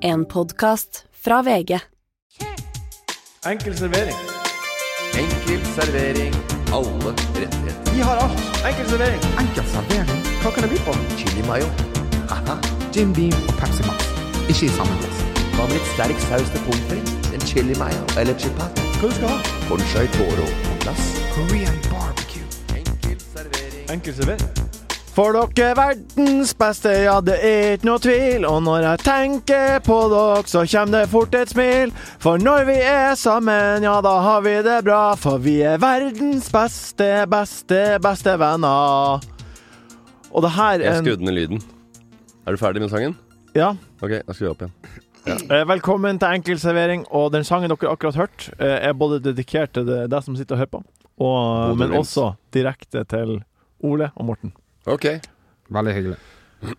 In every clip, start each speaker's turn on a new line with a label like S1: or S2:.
S1: En podkast fra VG.
S2: Enkel servering.
S3: Enkel servering. Alle rettigheter.
S2: Vi har alt. Enkel servering.
S4: Enkel servering,
S2: Hva kan det by på?
S3: Chili mayo. Haha.
S4: Jim Beam og Pepsi Max. Ikke i samme glass.
S3: Hva med litt sterk saus til pommes frites? En chili mayo eller chipat?
S2: Hva du skal ha?
S3: Conchai toro på glass.
S4: Korean barbecue.
S3: Enkel servering.
S2: Enkel servering.
S5: For dere verdens beste, ja det er ikke noe tvil. Og når jeg tenker på dere, så kommer det fort et smil. For når vi er sammen, ja da har vi det bra. For vi er verdens beste, beste, beste venner. Og det her
S6: Jeg
S5: er en-
S6: skrudde ned lyden. Er du ferdig med sangen?
S5: Ja.
S6: Ok, jeg skrur opp igjen.
S5: Eh, Velkommen til Enkelservering. Og den sangen dere akkurat hørte, eh, er både dedikert til det- deg som sitter og hører på, og,
S6: Bodø
S5: men
S6: Glimt.
S5: også direkte til Ole og Morten.
S6: Ok,
S4: Veldig hyggelig.
S5: Det,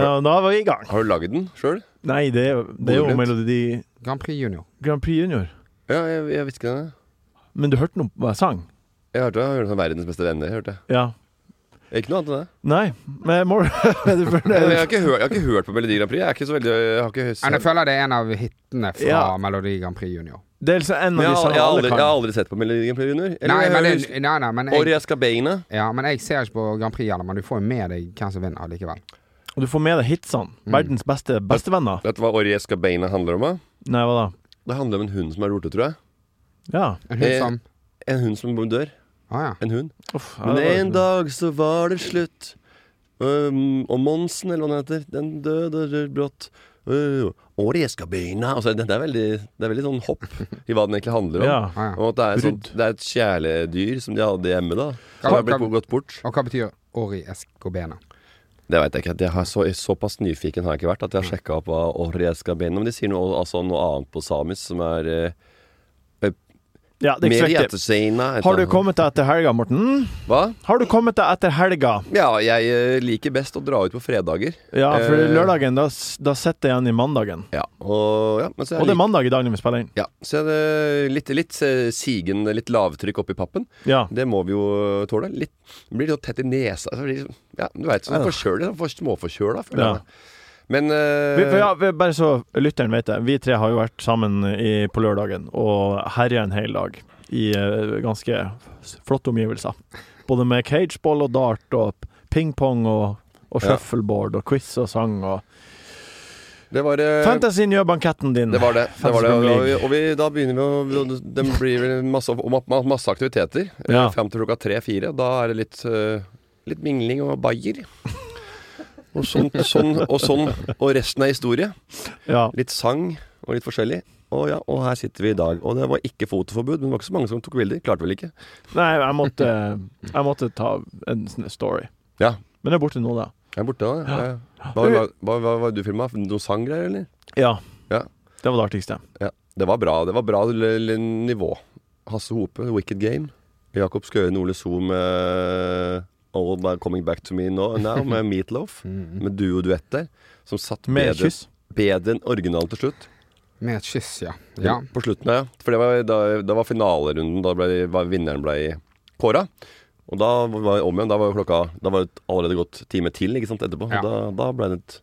S5: da var vi i gang.
S6: Har du lagd den sjøl?
S5: Nei, det er, jo- det er jo
S6: Bodø Glimt.
S5: Melodi
S4: Grand Prix Junior.
S5: Grand Prix Junior.
S6: Ja, jeg, jeg visste ikke det.
S5: Men du hørte noe hva jeg sang?
S6: Jeg hørte jeg hørte sånn 'Verdens beste venner'. Jeg hørte jeg.
S5: Ja.
S6: Ikke noe annet enn det.
S5: Nei, men Mor er du
S6: Jeg, jeg,
S5: fornøyd?
S6: har ikke hørt, jeg har ikke hørt på Melodi Grand Prix. Jeg er ikke så veldig Jeg har ikke hørt
S4: Men jeg føler det er en av hitene fra
S5: Ja.
S4: Melodi Grand Prix Junior.
S5: Det er liksom en
S6: Men
S5: av de
S6: jeg, har-
S5: sangene
S6: jeg, har aldri,
S5: alle
S6: jeg har
S5: kan.
S6: aldri sett på Melodi Grand Prix Junior. Eller
S4: Nei,
S6: jeg
S4: men,
S6: hører-
S4: det- nei, nei, men, jeg,
S6: Oria Skabeina.
S4: ja, men jeg ser ikke på Grand Prix heller, men du får jo med deg hvem som vinner likevel.
S5: Og du får med deg hitsene. Verdens beste bestevenner.
S6: Vet du hva Oria Skabeina handler om? da?
S5: Nei, hva da?
S6: Det handler om en hund som er rotet, tror jeg.
S5: Ja.
S4: En hund
S6: Eh.
S4: som
S6: En hund som dør.
S4: Å ja.
S6: En hund.
S5: Uff, ja,
S6: Men
S5: det var-
S6: en dag så var det slutt. Um, og Monsen, eller hva den heter, den døde r- brått. Uh, og det skal begynne altså, det, det, er veldig, det er veldig sånn hopp i hva den egentlig handler om.
S5: Ja.
S4: Å, ja.
S6: Og at det er, sånn,
S5: Brudd.
S6: det er et kjæledyr som de hadde hjemme, da. Som
S4: Kan-
S6: har blitt
S4: kan-
S6: gått bort.
S4: Og hva betyr Ori Escobena?
S6: Det veit jeg ikke. Jeg har så, såpass nyfiken har jeg ikke vært at jeg har sjekka opp hva Orieska Beina Men de sier noe, altså, noe annet på samisk som er uh,
S5: ja, det er
S6: mer
S5: ikke så viktig.
S6: gjeteseina.
S5: Har du kommet deg etter helga, Morten?
S6: Hva?
S5: Har du kommet deg etter helga?
S6: Ja, jeg eh, liker best å dra ut på fredager.
S5: Ja, for
S6: Eh.
S5: lørdagen, da, s- da sitter jeg igjen i mandagen.
S6: Ja, og, ja, men så jeg
S5: Og det er
S6: liker-
S5: mandag i dag når vi spiller inn.
S6: Ja, så er det litt, litt eh, sigen, litt lavtrykk oppi pappen.
S5: Ja.
S6: Det må vi jo tåle. Litt, det blir litt tett i nesa. Altså, det blir, ja, du veit, sånn forkjølig. sånn For småforkjøla, føler
S5: Ja.
S6: jeg. meg. Men eh,
S5: Vi, for ja, vi, bare så lytteren vet det, vi tre har jo vært sammen i, på lørdagen og herja en hel dag i eh, ganske s- flotte omgivelser. Både med cageball og dart og pingpong og, og
S6: Ja.
S5: shuffleboard og quiz og sang og
S6: det var eh,
S5: Fantasy gjør banketten din!
S6: det var det. det, var det.
S5: Fantasy
S6: Og,
S5: Premier
S6: vi,
S5: League.
S6: og vi, da begynner vi å Det blir vel masse, og ma- ma- masse aktiviteter eh,
S5: Ja.
S6: fram til klokka tre-fire. Da er det litt, eh, litt mingling og bayer. Og sånn, sånn, og sånn. Og resten er historie.
S5: Ja.
S6: litt sang og litt forskjellig. Og, ja, og her sitter vi i dag. Og det var ikke fotoforbud, men det var ikke så mange som tok bilder. Klarte vel ikke.
S5: Nei, jeg måtte, jeg måtte ta en sånn story.
S6: Ja.
S5: Men det er borte nå, da.
S6: Jeg er borte nå. Ja. Hva var hva, hva, hva, var det du filma? Noen sanggreier, eller?
S5: Ja.
S6: Ja.
S5: Det var det artigste.
S6: Ja. Det var bra. Det var bra l- l- nivå. Hasse Hope, Wicked Game. Jakob Skøyen, Ole So med eh, All About Coming Back To Me Now, now med Meatloaf. Med duo-duett der. Som satt
S5: Mm. Med
S6: bedre,
S5: kyss.
S6: bedre enn originalen til slutt.
S4: Med et kyss, ja. ja.
S6: På slutten, ja. For det var, da, da var finalerunden. Da ble, var, vinneren ble kåra. Og da var det om igjen. Da var jo klokka Da var det allerede gått time til ikke sant, etterpå.
S4: Ja.
S6: Da, da ble det et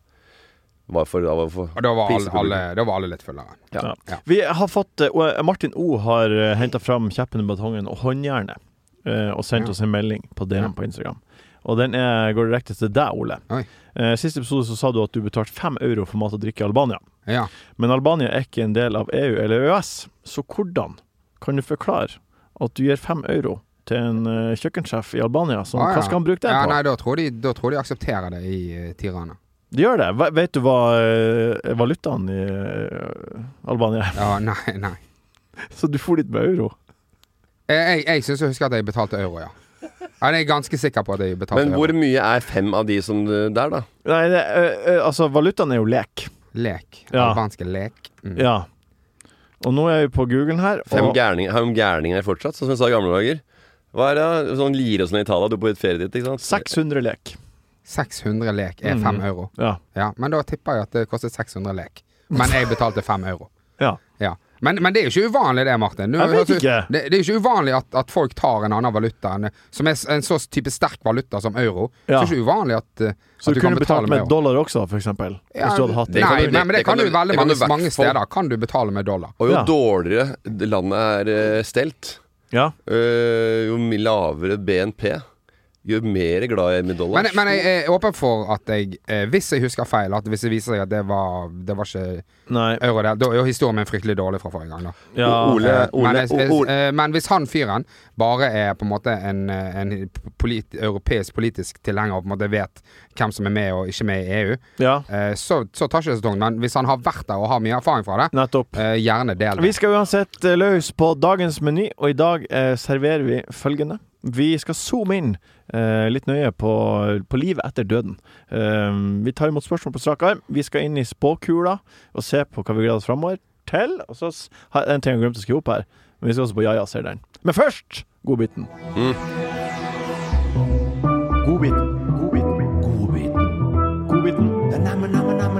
S6: var for, da var det for
S4: Og da var alle,
S6: prisepublikum.
S4: alle, da var alle litt fullere.
S5: Ja.
S4: Ja.
S5: Vi har fått, eh, og Martin O har henta fram kjeppen, batongen og håndjernet eh, og sendt
S4: Ja.
S5: oss en melding på DM på Instagram. Og den er, går direkte til deg, Ole.
S4: Oi.
S5: Eh, siste episode så sa du at du betalte fem euro for mat og drikke i Albania.
S4: Ja.
S5: Men Albania er ikke en del av EU eller EØS, så hvordan kan du forklare at du gir fem euro til en eh, kjøkkensjef i Albania? Som,
S4: Ah, ja.
S5: Hva skal han bruke det
S4: Ja,
S5: på?
S4: nei, da tror, de, da tror de aksepterer det i eh, Tirana.
S5: De gjør det. Hva- Vet du hva eh, valutaen i eh, Albania er?
S4: Ja, nei, nei.
S5: Så du for dit med euro?
S4: Eh, Jeg, jeg syns jeg husker at jeg betalte euro, ja. Ja, Jeg er ganske sikker på at jeg betalte
S6: Men hvor
S4: euro.
S6: mye er fem av de som der, da?
S5: Nei, det, eh, eh, altså, valutaen er jo lek.
S4: Lek.
S5: Ja.
S4: Albanske lek. Mm.
S5: Ja. Og nå er vi på Google her.
S6: Fem
S5: Og,
S6: gærninger, har de gærninger fortsatt, sånn som jeg sa i gamle dager? Hva er det? Sånn lire og sånn i Italia, du er på et ferie dit, ikke sant?
S5: 600 lek.
S4: 600 lek er
S5: Mhm.
S4: 5 euro.
S5: Ja.
S4: Ja, men da tipper jeg at det kostet 600 lek. Men jeg betalte 5 euro.
S5: Ja.
S4: Ja. Men, men det er jo ikke uvanlig det, Martin. Du,
S5: Jeg vet
S4: altså,
S5: ikke.
S4: Det, det er jo ikke uvanlig at, at folk tar en annen valuta, enn, som er s- en så type sterk valuta som euro.
S5: Ja.
S4: Så det er ikke uvanlig at, eh,
S5: Så du
S4: at du kan
S5: kunne betalt
S4: betale
S5: med
S4: med euro.
S5: dollar også, for eksempel?
S4: Ja,
S5: hvis du hadde hatt det.
S6: kan
S4: Nei,
S6: du-
S4: nei, men det
S6: det kan
S4: kan du
S6: du-
S4: veldig
S6: det kan
S4: mange,
S6: du i hvert
S4: mange
S6: fall-
S4: steder. Kan du betale med dollar?
S6: Og jo
S5: Ja.
S6: dårligere landet er eh, stelt,
S5: Ja.
S6: eh, jo mi- lavere BNP, jo mer glad jeg er i dollar.
S4: Men, men jeg er åpen for at jeg, eh, hvis jeg husker feil, at hvis det viser seg at det var, det var ikke
S5: Nei.
S4: euro der, da er jo historien min fryktelig dårlig fra forrige gang, da.
S5: Ja.
S6: Ole,
S4: Eh,
S6: Ole,
S4: men, jeg- jeg-
S6: Ole.
S4: eh, men hvis han fyren bare er på en måte en, eh, en polit, europeisk politisk tilhenger og på en måte vet hvem som er med og ikke med i EU,
S5: ja.
S4: eh, så, så tar ikke det så tungt. Men hvis han har vært der og har mye erfaring fra det,
S5: Nettopp.
S4: eh, gjerne del
S5: Vi
S4: det.
S5: skal uansett eh, løs på dagens meny, og i dag eh, serverer vi følgende. Vi skal zoome inn eh, litt nøye på, på livet etter døden. Eh, vi tar imot spørsmål på strak arm. Vi skal inn i spåkula og se på hva vi gleder oss framover til. Og så s- har jeg en ting jeg glemte å skrive opp her, men vi skal også på Jaja ser den. Men først godbiten.
S6: Mm.
S5: Godbiten. Godbiten. Godbiten.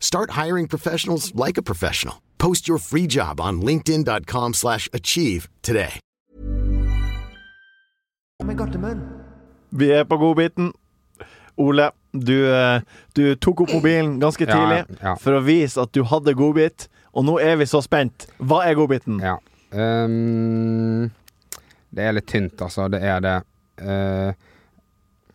S7: Start hiring professionals like a professional. Post your free job on linkedin.com/achieve slash achieve today.
S5: Vi er på godbiten. Ole, du, eh, du tok opp mobilen ganske
S4: Ja,
S5: tidlig
S4: ja.
S5: for å vise at du hadde godbit, og nå er vi så spent. Hva er godbiten?
S4: Ja. Ehm, det er litt tynt, altså. Det er det. Eh,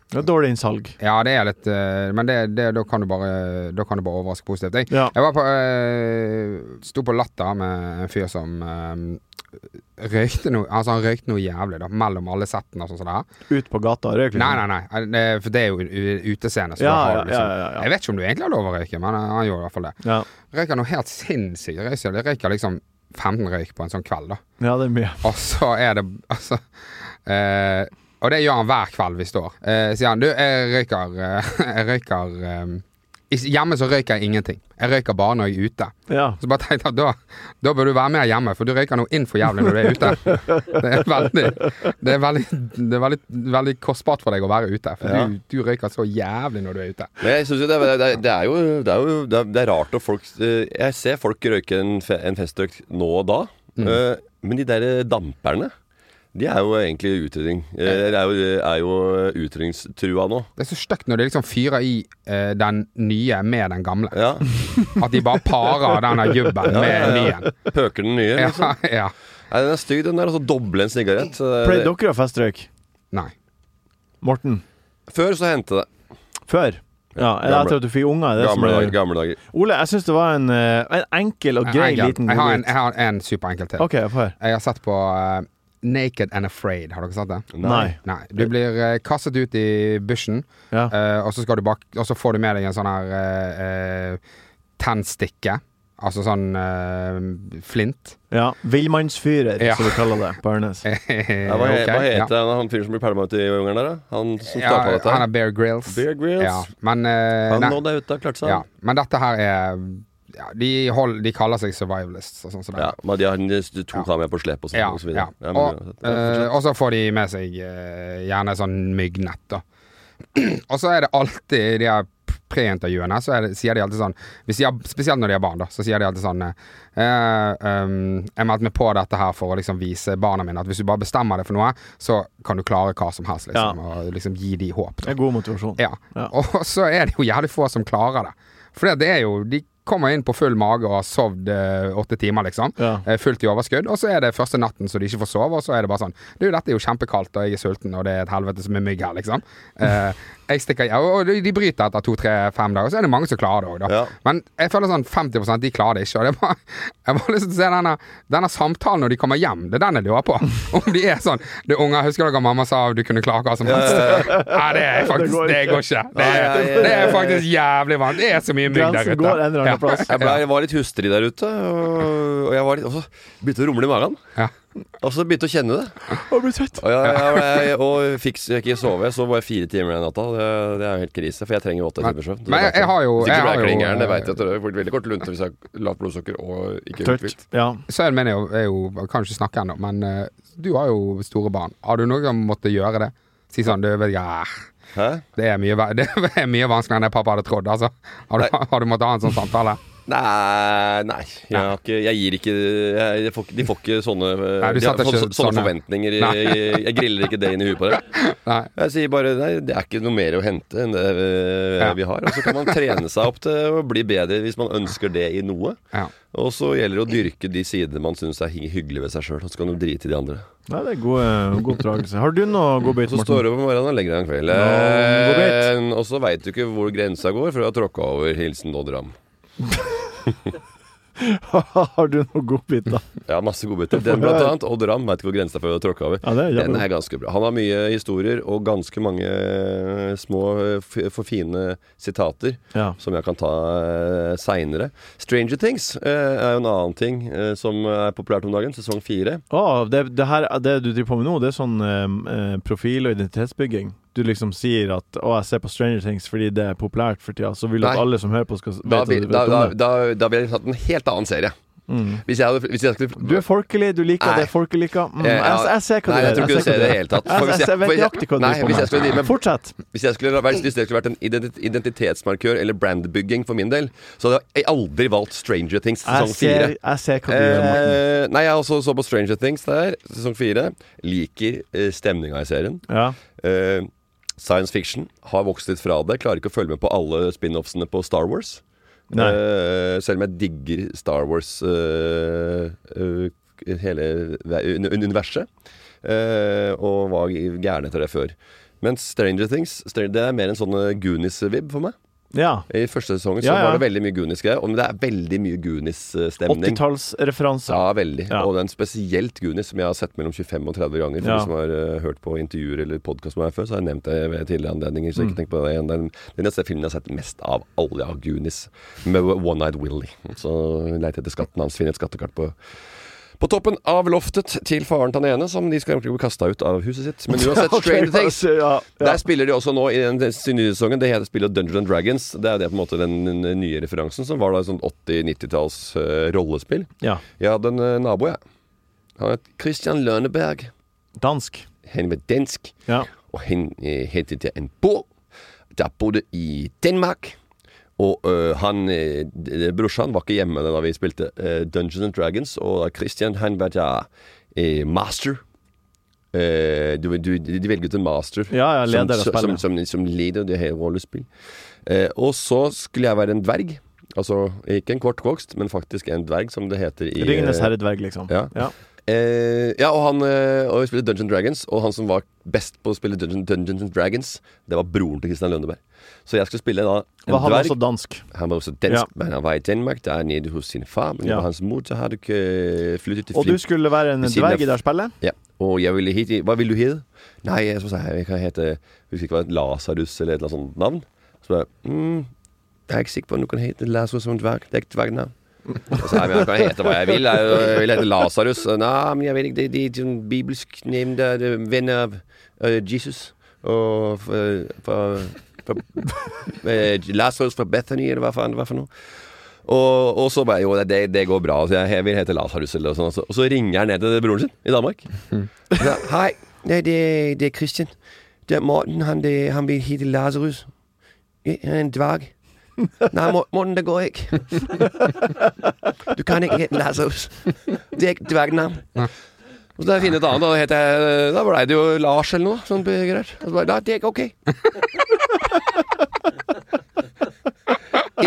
S5: Det er Dårlig innsalg.
S4: ja, det er litt eh, Men det, det, da, kan du bare, da kan du bare overraske positivt. Jeg,
S5: Ja.
S4: Jeg var på øh, Sto på Latter med en fyr som øh, røykte noe Altså han røykte noe jævlig, da, mellom alle settene og sånn som det her.
S5: Ut på gata og røyk. liksom.
S4: Nei, nei, nei. eh, det- For det er jo u- utescene. Så
S5: Ja,
S4: da har
S5: ja,
S4: du liksom,
S5: ja, ja, ja.
S4: Jeg vet ikke om du egentlig har lov å røyke, men eh, han gjorde i hvert fall det.
S5: Ja.
S4: Røyker noe helt sinnssykt. Røyker, røyker liksom 15 røyk på en sånn kveld, da.
S5: ja, det er mye.
S4: Og så er det Altså eh, Og det gjør han hver kveld vi står. Eh, sier han du, jeg røyker eh, Jeg røyker eh, is- Hjemme så røyker jeg ingenting. Jeg røyker bare når jeg er ute.
S5: Ja.
S4: Så bare tenkte jeg at da, da bør du være med hjemme, for du røyker noe inn for jævlig når du er ute. Det er veldig, det er veldig, det er veldig, veldig kostbart for deg å være ute, for
S6: Ja.
S4: du, du røyker så jævlig når du er ute.
S6: Men jeg synes jo det, er- det, er- det er jo, det er jo det er, det er rart at folk eh, Jeg ser folk røyke en, fe, en festrøyk nå og da.
S4: Mm.
S6: eh, Men de der damperne, de er jo egentlig utrydding. Eh, Det er jo, er jo utrydningstrua nå.
S4: Det er så stygt når de liksom fyrer i eh, den nye med den gamle.
S6: Ja.
S4: At de bare parer denne jubben
S6: Ja,
S4: med
S6: ja, ja.
S4: nyen.
S6: Pøker den nye. Liksom.
S4: Ja, ja.
S6: Nei, den er stygg, den der. Og så doble en sigarett. så
S5: Pleide
S6: det-
S5: dere å festrøyk,
S4: Nei.
S5: Morten?
S6: Før så hendte det.
S5: Før? Ja, er det
S6: Gamle-
S5: etter at du fikk unger? Er det som
S6: Gamle dager.
S5: er...
S6: Gamle dager.
S5: Ole, jeg syns det var en, eh, en enkel og grei
S4: Jeg- jeg-
S5: liten
S4: jeg har en,
S5: godbit.
S4: jeg har en superenkel til.
S5: OK, få høre.
S4: Jeg har sett på eh, Naked and Afraid. Har dere sett det?
S5: Nei.
S4: Nei. Du blir eh, kastet ut i bushen,
S5: Ja.
S4: eh, og, så skal du bak, og så får du med deg en sånn her eh, eh, tennstikke. Altså sånn eh, flint.
S5: ja. Villmannsfyrer,
S4: Ja. Eh,
S5: som vi kaller det på Ørnes.
S6: Ja, hva, hva
S4: Ok, ja.
S6: heter han, han fyren som blir pælma ut i ungeren der, da? Han som
S4: Ja,
S6: starta dette?
S4: han er Bear Grills.
S6: Bear Grylls.
S4: Ja, men, eh,
S6: han
S4: nei,
S6: nådde ut og klarte seg.
S4: ja, men dette her er ja, de, hold, de kaller seg survivalists og sånn som det.
S6: Ja, eh, men de har en- de to
S4: Ja.
S6: kameraer på slep og sånn.
S4: Ja,
S6: og så
S4: ja.
S6: videre. Ja, men
S4: Og,
S6: uansett.
S4: eh, og så får de med seg eh, gjerne sånn myggnett, da. og så er det alltid i de her preintervjuene, så er det, sier de alltid sånn hvis de har, Spesielt når de har barn, da, så sier de alltid sånn eh, eh, um, Jeg meldte meg på dette her for å liksom vise barna mine at hvis du bare bestemmer deg for noe, så kan du klare hva som helst, liksom. Og liksom gi de håp.
S5: Det
S4: Da.
S5: er god motivasjon.
S4: Ja.
S5: Ja.
S4: Og så er det jo jævlig få som klarer det. For det er jo De kommer inn på full mage og har sovet eh, åtte timer, liksom.
S5: Ja.
S4: Eh, Fullt i overskudd. Og så er det første natten så de ikke får sove, og så er det bare sånn Du, dette er jo kjempekaldt, og jeg er sulten, og det er et helvete som er mygg her, liksom. Eh, jeg stikker ja, Og de de bryter etter to-tre-fem dager, og så er det mange som klarer det òg, da.
S6: Ja.
S4: Men jeg føler sånn 50 de klarer det ikke. Og det er bare, jeg har bare lyst til å se denne, denne samtalen når de kommer hjem. Det er den jeg lurer på. Om de er sånn Du unger, husker dere mamma sa du kunne klare hva som helst? Nei, det er faktisk Det går ikke. Det
S6: Nei,
S4: er,
S6: nei, nei.
S4: det er faktisk jævlig varmt. Det er så mye mygg der
S5: Grensen
S4: ute.
S5: går en eller annen plass.
S6: Jeg, ble, jeg var litt hustrig der ute, og, og jeg var litt, og så begynte det å rumle i magen.
S4: Ja.
S6: Og så begynte jeg å kjenne det.
S5: Å, blir svett.
S6: Og jeg, jeg, jeg, og fikk jeg ikke sove. Jeg sov bare fire timer den natta. Det, det er jo helt krise, for jeg trenger åtte
S4: Men-
S6: timer søvn.
S4: men jeg- jeg har jo-
S6: Hvis
S4: jeg
S6: ikke blir
S4: har
S6: jeg
S4: jo-
S6: klin gæren, det vet jeg. at Det blir veldig kort lunte hvis jeg har lavt blodsukker og ikke
S5: Tørt.
S6: uthvilt.
S5: Ja.
S4: Sønnen min er jo, er jo Kan ikke snakke ennå, men eh, du har jo store barn. Har du noen gang måttet gjøre det? Si sånn Du vet ikke eh,
S6: Hæ?
S4: Det er mye, ver- det er mye vanskeligere enn det pappa hadde trodd, altså. Har du,
S6: Nei.
S4: har du måttet ha en sånn samtale?
S6: Nei, nei. Jeg, har ikke, jeg gir ikke jeg, jeg får, ikke- De får ikke sånne,
S4: Nei, du
S6: de har,
S4: satte
S6: fått
S4: ikke
S6: så- sånne
S4: sånne.
S6: forventninger. i-
S4: Nei.
S6: Jeg, jeg griller ikke det inn i huet på dere.
S4: Nei.
S6: Jeg sier bare nei, det er ikke noe mer å hente enn det eh,
S4: Ja.
S6: vi har. Og så kan man trene seg opp til å bli bedre hvis man ønsker det i noe.
S4: Ja.
S6: Og så gjelder det å dyrke de sidene man syns er hy- hyggelige ved seg sjøl. Og så kan du drite i de andre.
S5: Nei, det er god, eh, god oppdragelse. Har du noe godbit,
S6: Så står
S5: Morten?
S6: du opp om morgenen og legger deg en kveld.
S5: Ja, god
S6: Eh, og så veit du ikke hvor grensa går før du har tråkka over. Hilsen Odd Ram.
S5: Har du noe godbit, da?
S6: Ja, masse godbiter. Den blant annet. Odd Ram veit ikke hvor grensa for å tråkke over.
S5: Ja, det er
S6: Den
S5: jævlig.
S6: er ganske bra. Han har mye historier og ganske mange eh, små, eh, f- for fine sitater
S5: Ja.
S6: som jeg kan ta eh, seinere. Stranger Things eh, er jo en annen ting eh, som er populært om dagen. Sesong fire.
S5: Å, det, det, her, det du driver på med nå, det er sånn eh, eh, profil- og identitetsbygging. Du liksom sier at 'Å, jeg ser på Stranger Things fordi det er populært for tida', så vil du at
S6: Nei.
S5: alle som hører på, skal s-
S6: Da
S5: vite at du
S6: vil-
S5: vet
S6: da-
S5: om
S6: da-
S5: det. Mm.
S6: da- da ville jeg tatt en helt annen serie. Hvis jeg hadde hvis jeg skulle,
S5: Du er folkelig, du liker
S6: Nei.
S5: det folk liker. Mm,
S6: Eh,
S5: jeg,
S6: ja.
S5: jeg ser hva
S6: Nei,
S5: du
S6: jeg tror ikke du
S5: hva
S6: ser det i
S5: gjør.
S6: det hele tatt. For
S5: Jeg,
S6: hvis
S5: jeg,
S6: jeg-
S5: jeg vet
S6: for jeg-
S5: nøyaktig hva du
S6: Nei,
S5: driver på
S6: hvis jeg skulle drive med-
S5: Fortsett.
S6: Hvis jeg skulle vært, hvis det skulle vært en identi- identitetsmarkør eller brandbygging for min del, så hadde jeg aldri valgt Stranger Things
S5: Jeg
S6: sesong
S5: ser,
S6: fire.
S5: jeg ser hva du gjør. Morten.
S6: Eh, nei, jeg også så på Stranger Things der, sesong fire. Liker eh, stemninga i serien.
S5: Ja.
S6: Eh, science fiction har vokst litt fra det. Klarer ikke å følge med på alle spin-offsene på Star Wars.
S5: Nei.
S6: Eh, selv om jeg digger Star Wars eh, eh, hele ve- un- un- universet. Eh, og var gæren etter det før. Men Stranger Things Str- Det er mer en sånn eh, Goonies-vibb for meg.
S5: ja.
S6: I første sesongen så
S5: Ja, ja.
S6: var det veldig mye Goonies-greier. Og det er veldig mye eh, Goonies-stemning.
S5: 80-tallsreferanse.
S6: Ja, veldig.
S5: Ja.
S6: Og den spesielt Gunis, som jeg har sett mellom 25 og 30 ganger. For
S5: Ja.
S6: de som har eh, hørt på intervjuer eller podkast med meg før, så har jeg nevnt det ved tidligere anledninger.
S5: Mm.
S6: Så ikke tenk på det igjen. Den, den neste filmen jeg har sett mest av alle av Gunis, med One Night Willy. Så leter jeg etter skatten hans, finner et skattekart på på toppen av loftet til faren til han ene, som de skal egentlig bli kasta ut av huset sitt. Men uansett,
S5: Ok,
S6: Stranger Things
S5: Ja, ja.
S6: der spiller de også nå i den sin nye sesongen. Det heter spillet Dungeons and Dragons. Det er jo det på en måte den, den nye referansen, som var da et sånn 80-90-talls eh, rollespill.
S5: ja.
S6: Jeg hadde en eh, nabo, jeg. Han het Christian Lønneberg.
S5: Dansk.
S6: Han var dansk,
S5: Ja.
S6: og han eh, hentet jeg en bog, der bodde i Danmark. Og eh, han, eh, d- brorsan var ikke hjemme da vi spilte eh, Dungeons and Dragons, og øh, Christian han var da eh, master. Eh, du, du, de velger ut en master
S5: Ja, ja, leder av
S6: som, som,
S5: spillet.
S6: som, som leder det her rollespill. Eh, og så skulle jeg være en dverg. Altså ikke en kortvokst, men faktisk en dverg, som det heter i
S5: Ringenes
S6: eh,
S5: herredverg, liksom.
S6: ja.
S5: Ja.
S6: Eh, ja, og han eh, og vi spilte Dungeons and Dragons, og han som var best på å spille Dungeon, Dungeons and Dragons, det var broren til Christian Lønneberg. Så jeg skulle spille da en
S5: Var han
S6: dverg.
S5: også dansk?
S6: han var også dansk,
S5: Ja.
S6: men han var i Danmark, der nede hos sin far. Men
S5: Ja.
S6: var hans mor så hadde ikke eh, flyttet til
S5: Og du
S6: Flint.
S5: skulle være en
S6: Ved siden
S5: dverg i
S6: av-
S5: det her spillet?
S6: Ja. Og jeg ville hit Hva vil du hete? Nei, jeg, så sa jeg, jeg kan hete jeg Husker ikke hva Lasarus eller et eller annet sånt navn. Så bare mm, Jeg er ikke sikker på om du kan hete Lasarus som dverg. Det er ikke dvergnavn. Og så, nei, men jeg kan hete hva jeg vil. Jeg, jeg vil hete Lasarus. Nei, men jeg vet ikke. Det, det er en bibelsk navn. Det er en venn av eh, Jesus. Og fra, fra, fra eh, Lasarus fra Bethany, eller hva faen det var for noe. Og, og så bare Jo, det, det går bra. Så jeg, jeg vil hete Lasarus eller noe sånt. også. Og så ringer han ned til broren sin i Danmark. Ja, Hei, Nei, det, det er Christian. Det er Morten, han, det, han vil hete Lazarus. Ja, Han er en dverg. Nei, Mor- Morten, det går ikke. Du kan ikke hete Lazarus. Det er ikke dvergnavn. Og så da finner jeg et annet, da heter jeg øh, Da blei det jo Lars eller noe. Sånn greier. Og så bare Nei, det er ikke ok.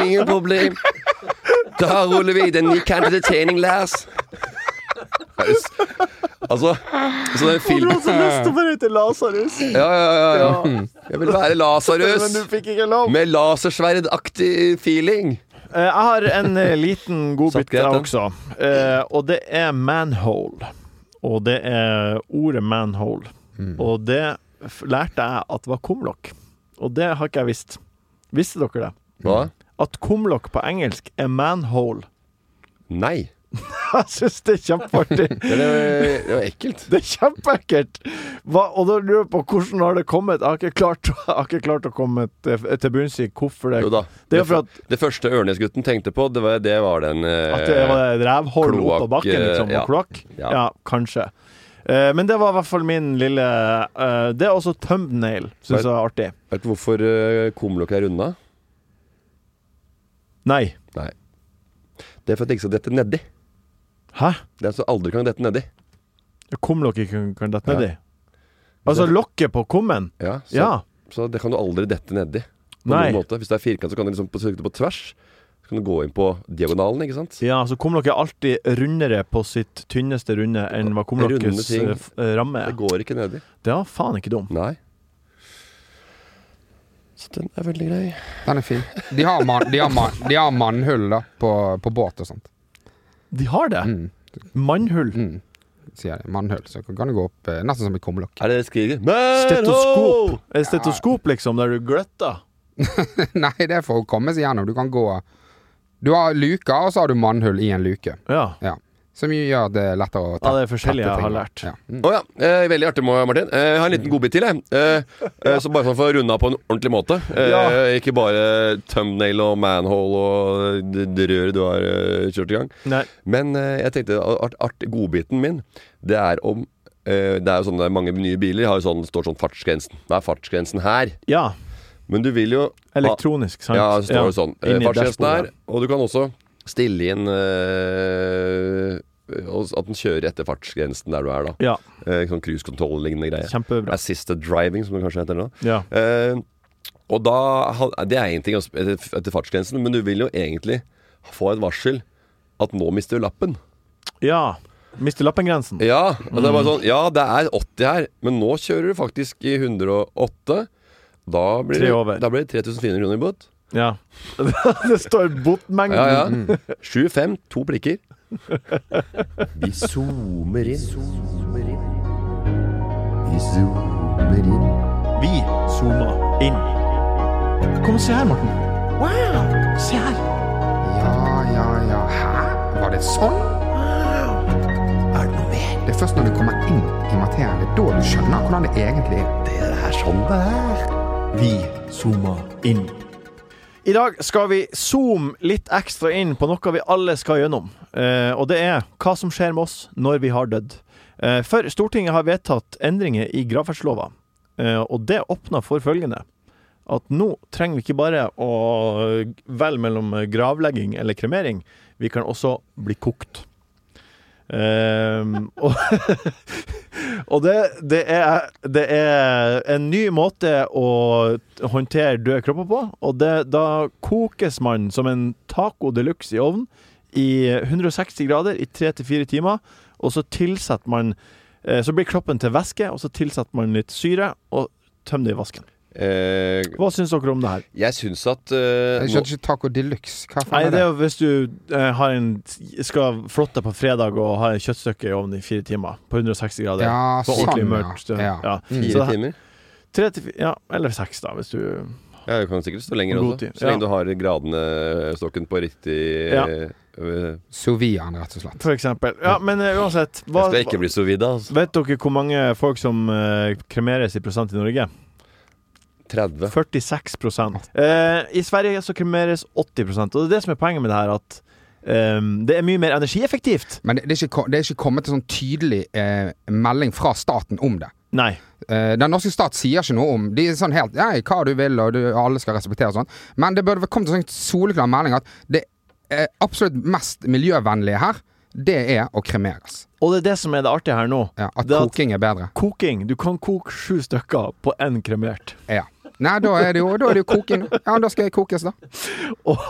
S6: Ingen problem. Da ruller vi den nykantede tegning, Lars. Altså, altså den filmen
S5: så
S4: Eh,
S5: lyst til å være ute i Lasarus,
S6: Ja, ja, ja. ja. Jeg vil være
S5: men
S6: Lasarus.
S5: du fikk ikke lov.
S6: Med lasersverdaktig feeling.
S5: Eh, jeg har en eh, liten
S6: Satt
S5: godbit
S6: greit,
S5: der
S6: den.
S5: også, Eh, og det er manhole. Og det er ordet manhole.
S6: Mm.
S5: Og det f lærte jeg at var kumlokk. Og det har ikke jeg visst. Visste dere det?
S6: Hva?
S5: At kumlokk på engelsk er manhole.
S6: Nei.
S5: Jeg syns det er kjempeartig.
S6: Det var, det var ekkelt.
S5: Det er kjempeekkelt! Hva- Og da lurer jeg på hvordan har det kommet? Jeg har ikke klart, jeg har ikke klart å komme til, til bunns i hvorfor det
S6: Jo da.
S5: Det er jo for at,
S6: Det første Ørnesgutten tenkte på, det var, det var den eh,
S5: at det var et rævhull oppå
S6: kloakk,
S5: bakken, liksom,
S6: eh,
S5: og kloakk.
S6: ja.
S5: Ja, kanskje. Eh, men det var i hvert fall min lille eh, Det er også thumbnail, syns jeg er artig.
S6: Vet du hvorfor uh, kumlokket er runda?
S5: Nei.
S6: Nei. Det er for at det ikke skal dette nedi.
S5: Hæ?
S6: Det er så aldri kan dette nedi.
S5: Kumlokket kan, kan dette nedi? Altså lokket på kummen?
S6: Ja, så,
S5: Ja.
S6: så det kan du aldri dette nedi. På
S5: Nei.
S6: noen måte. Hvis det er firkant, så kan du liksom på- søke det på tvers. Så kan du gå inn på diagonalen, ikke sant?
S5: Ja, så kumlokket er alltid rundere på sitt tynneste runde enn hva kumlokkets
S6: ting.
S5: eh, f- eh, ramme
S6: Det
S5: er.
S6: går ikke nedi.
S5: Det var faen ikke dum.
S6: Nei. Så den er veldig grei.
S4: Den er fin. De har, man, de har, man, de har mannhull da, på, på båt og sånt.
S5: De har det.
S4: Mm.
S5: Mannhull.
S4: Mm. Sier de. Mannhull. Så kan det gå opp eh, nesten som et kumlokk.
S6: Er det det skriker? Men
S5: Stetoskop. Et stetoskop, liksom, der du gløtter.
S4: Nei, det er for å komme seg gjennom. Du kan gå Du har luker, og så har du mannhull i en luke.
S5: Ja.
S4: Ja. Som jo gjør det lettere å
S5: Ja, det er forskjellige
S4: tette
S5: jeg har
S4: ting.
S5: lært.
S4: Ja. Mm.
S6: Å ja. Eh, veldig artig, må- Martin. Eh, jeg har en liten godbit til, jeg. Eh, eh, så bare sånn for å runde av på en ordentlig måte. Eh, Ikke bare thumbnail og manhole og det det røret du har eh, kjørt i gang.
S5: Nei.
S6: Men eh, jeg tenkte art, art, godbiten min, det er om eh, Det er jo sånn det er mange nye biler har jo sånn, står sånn fartsgrensen. Hva er fartsgrensen her?
S5: Ja.
S6: Men du vil jo
S5: Elektronisk, sant?
S6: Ja, det står jo sånn. Eh,
S5: Inni
S6: Fartsgrensen
S5: dashbordet.
S6: er Og du kan også stille inn eh, og- at den kjører etter fartsgrensen der du er, da.
S5: Ja.
S6: Eh, sånn cruisekontroll-lignende greier.
S5: Kjempebra.
S6: Assisted driving, som det kanskje heter nå.
S5: Ja.
S6: Eh, og da ha- Det er én ting å sp- etter etter fartsgrensen, men du vil jo egentlig få et varsel at nå mister du lappen.
S5: ja. Mister lappengrensen.
S6: Ja, og det er bare
S5: Mm.
S6: sånn, ja, det er 80 her, men nå kjører du faktisk i 108. Da blir,
S5: Tre
S6: det,
S5: over.
S6: da blir det 3400 kroner i bot.
S5: Ja. det står botmengden.
S6: Ja, ja.
S5: mm.
S6: 7-5, to prikker. Vi zoomer inn. Vi zoomer inn.
S5: Vi zoomer inn. Kom og se her, Morten. Wow! Se her.
S4: ja, ja, ja. Hæ? Var det sånn?
S6: Er det noe mer?
S4: Det er først når du kommer inn i materien, det er da du skjønner hvordan det egentlig er.
S6: Det er det her sånn det er.
S5: Vi zoomer inn. I dag skal vi zoome litt ekstra inn på noe vi alle skal gjennom. Eh, og det er hva som skjer med oss når vi har dødd. Eh, for Stortinget har vedtatt endringer i gravferdslova, eh, og det åpner for følgende. At nå trenger vi ikke bare å velge mellom gravlegging eller kremering, vi kan også bli kokt. Eh, og og det, det, er, det er en ny måte å håndtere døde kropper på. Og det, da kokes man som en taco de luxe i ovnen i 160 grader i 3-4 timer. Og så tilsetter man eh, Så blir kroppen til væske, og så tilsetter man litt syre og tømmer det i vasken.
S6: Eh,
S5: Hva syns dere om det her?
S6: jeg syns at eh, nå,
S4: Jeg skjønner ikke taco de luxe. Hva
S5: Nei,
S4: faen er
S5: det
S4: det?
S5: er jo hvis du eh, har en, skal flotte på fredag og har et kjøttstykke i ovnen i fire timer på 160 grader.
S4: Ja,
S5: så ordentlig
S4: sånn, ja.
S5: mørkt. eh, Ja.
S4: Ja. Mm.
S5: Så
S6: fire
S5: det her-
S6: timer.
S5: Tre til fi- ja, eller seks, da, hvis du
S6: Ja, du kan sikkert stå lenger
S5: God
S6: også.
S5: tid,
S6: Så lenge
S5: ja.
S6: du har gradene eh, stokken på riktig
S5: Ja.
S6: eh,
S4: Sous vide-en, rett og slett.
S5: For eksempel. Ja, men eh, uansett hva,
S6: Jeg skal ikke bli så vidd, altså.
S5: Vet dere hvor mange folk som eh, kremeres i prosent i Norge?
S6: 30.
S5: 46 prosent. Eh, I Sverige så kremeres 80 prosent, og det er det som er poenget med det her, at eh, det er mye mer energieffektivt.
S4: Men det, det, er ikke, ko- det er ikke kommet en sånn tydelig eh, melding fra staten om det.
S5: Nei.
S4: Eh, den norske stat sier ikke noe om De er sånn helt Nei, hva du vil, og du, alle skal respektere og sånn. Men det burde vel kommet en sånn soleklar melding at det eh, absolutt mest miljøvennlige her, det er å kremeres.
S5: Og det er det som er det artige her nå.
S4: Ja, at
S5: Det at-
S4: koking er bedre.
S5: Koking. Du kan koke sju stykker på én kremert.
S4: Ja. Nei, da er det jo, da er det jo koking. da. Ja, da skal jeg kokes, da.
S5: Og,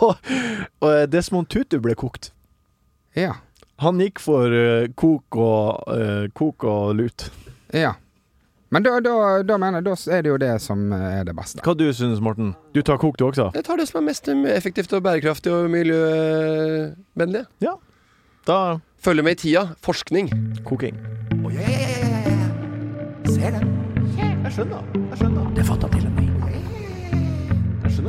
S5: og eh, Desmond Tutu ble kokt.
S4: Ja.
S5: Han gikk for eh, kok, og, eh, kok og lut.
S4: ja. Men da, da, da mener jeg, da er det jo det som er det beste.
S5: Hva du synes Morten? Du tar kok du også?
S6: Jeg tar det som er mest um, effektivt og bærekraftig og miljøvennlig.
S5: Ja. Da
S6: Følge med i tida. Forskning.
S5: koking.
S2: Jeg skjønner. Jeg skjønner. Det fatter til og med. Jeg skjønner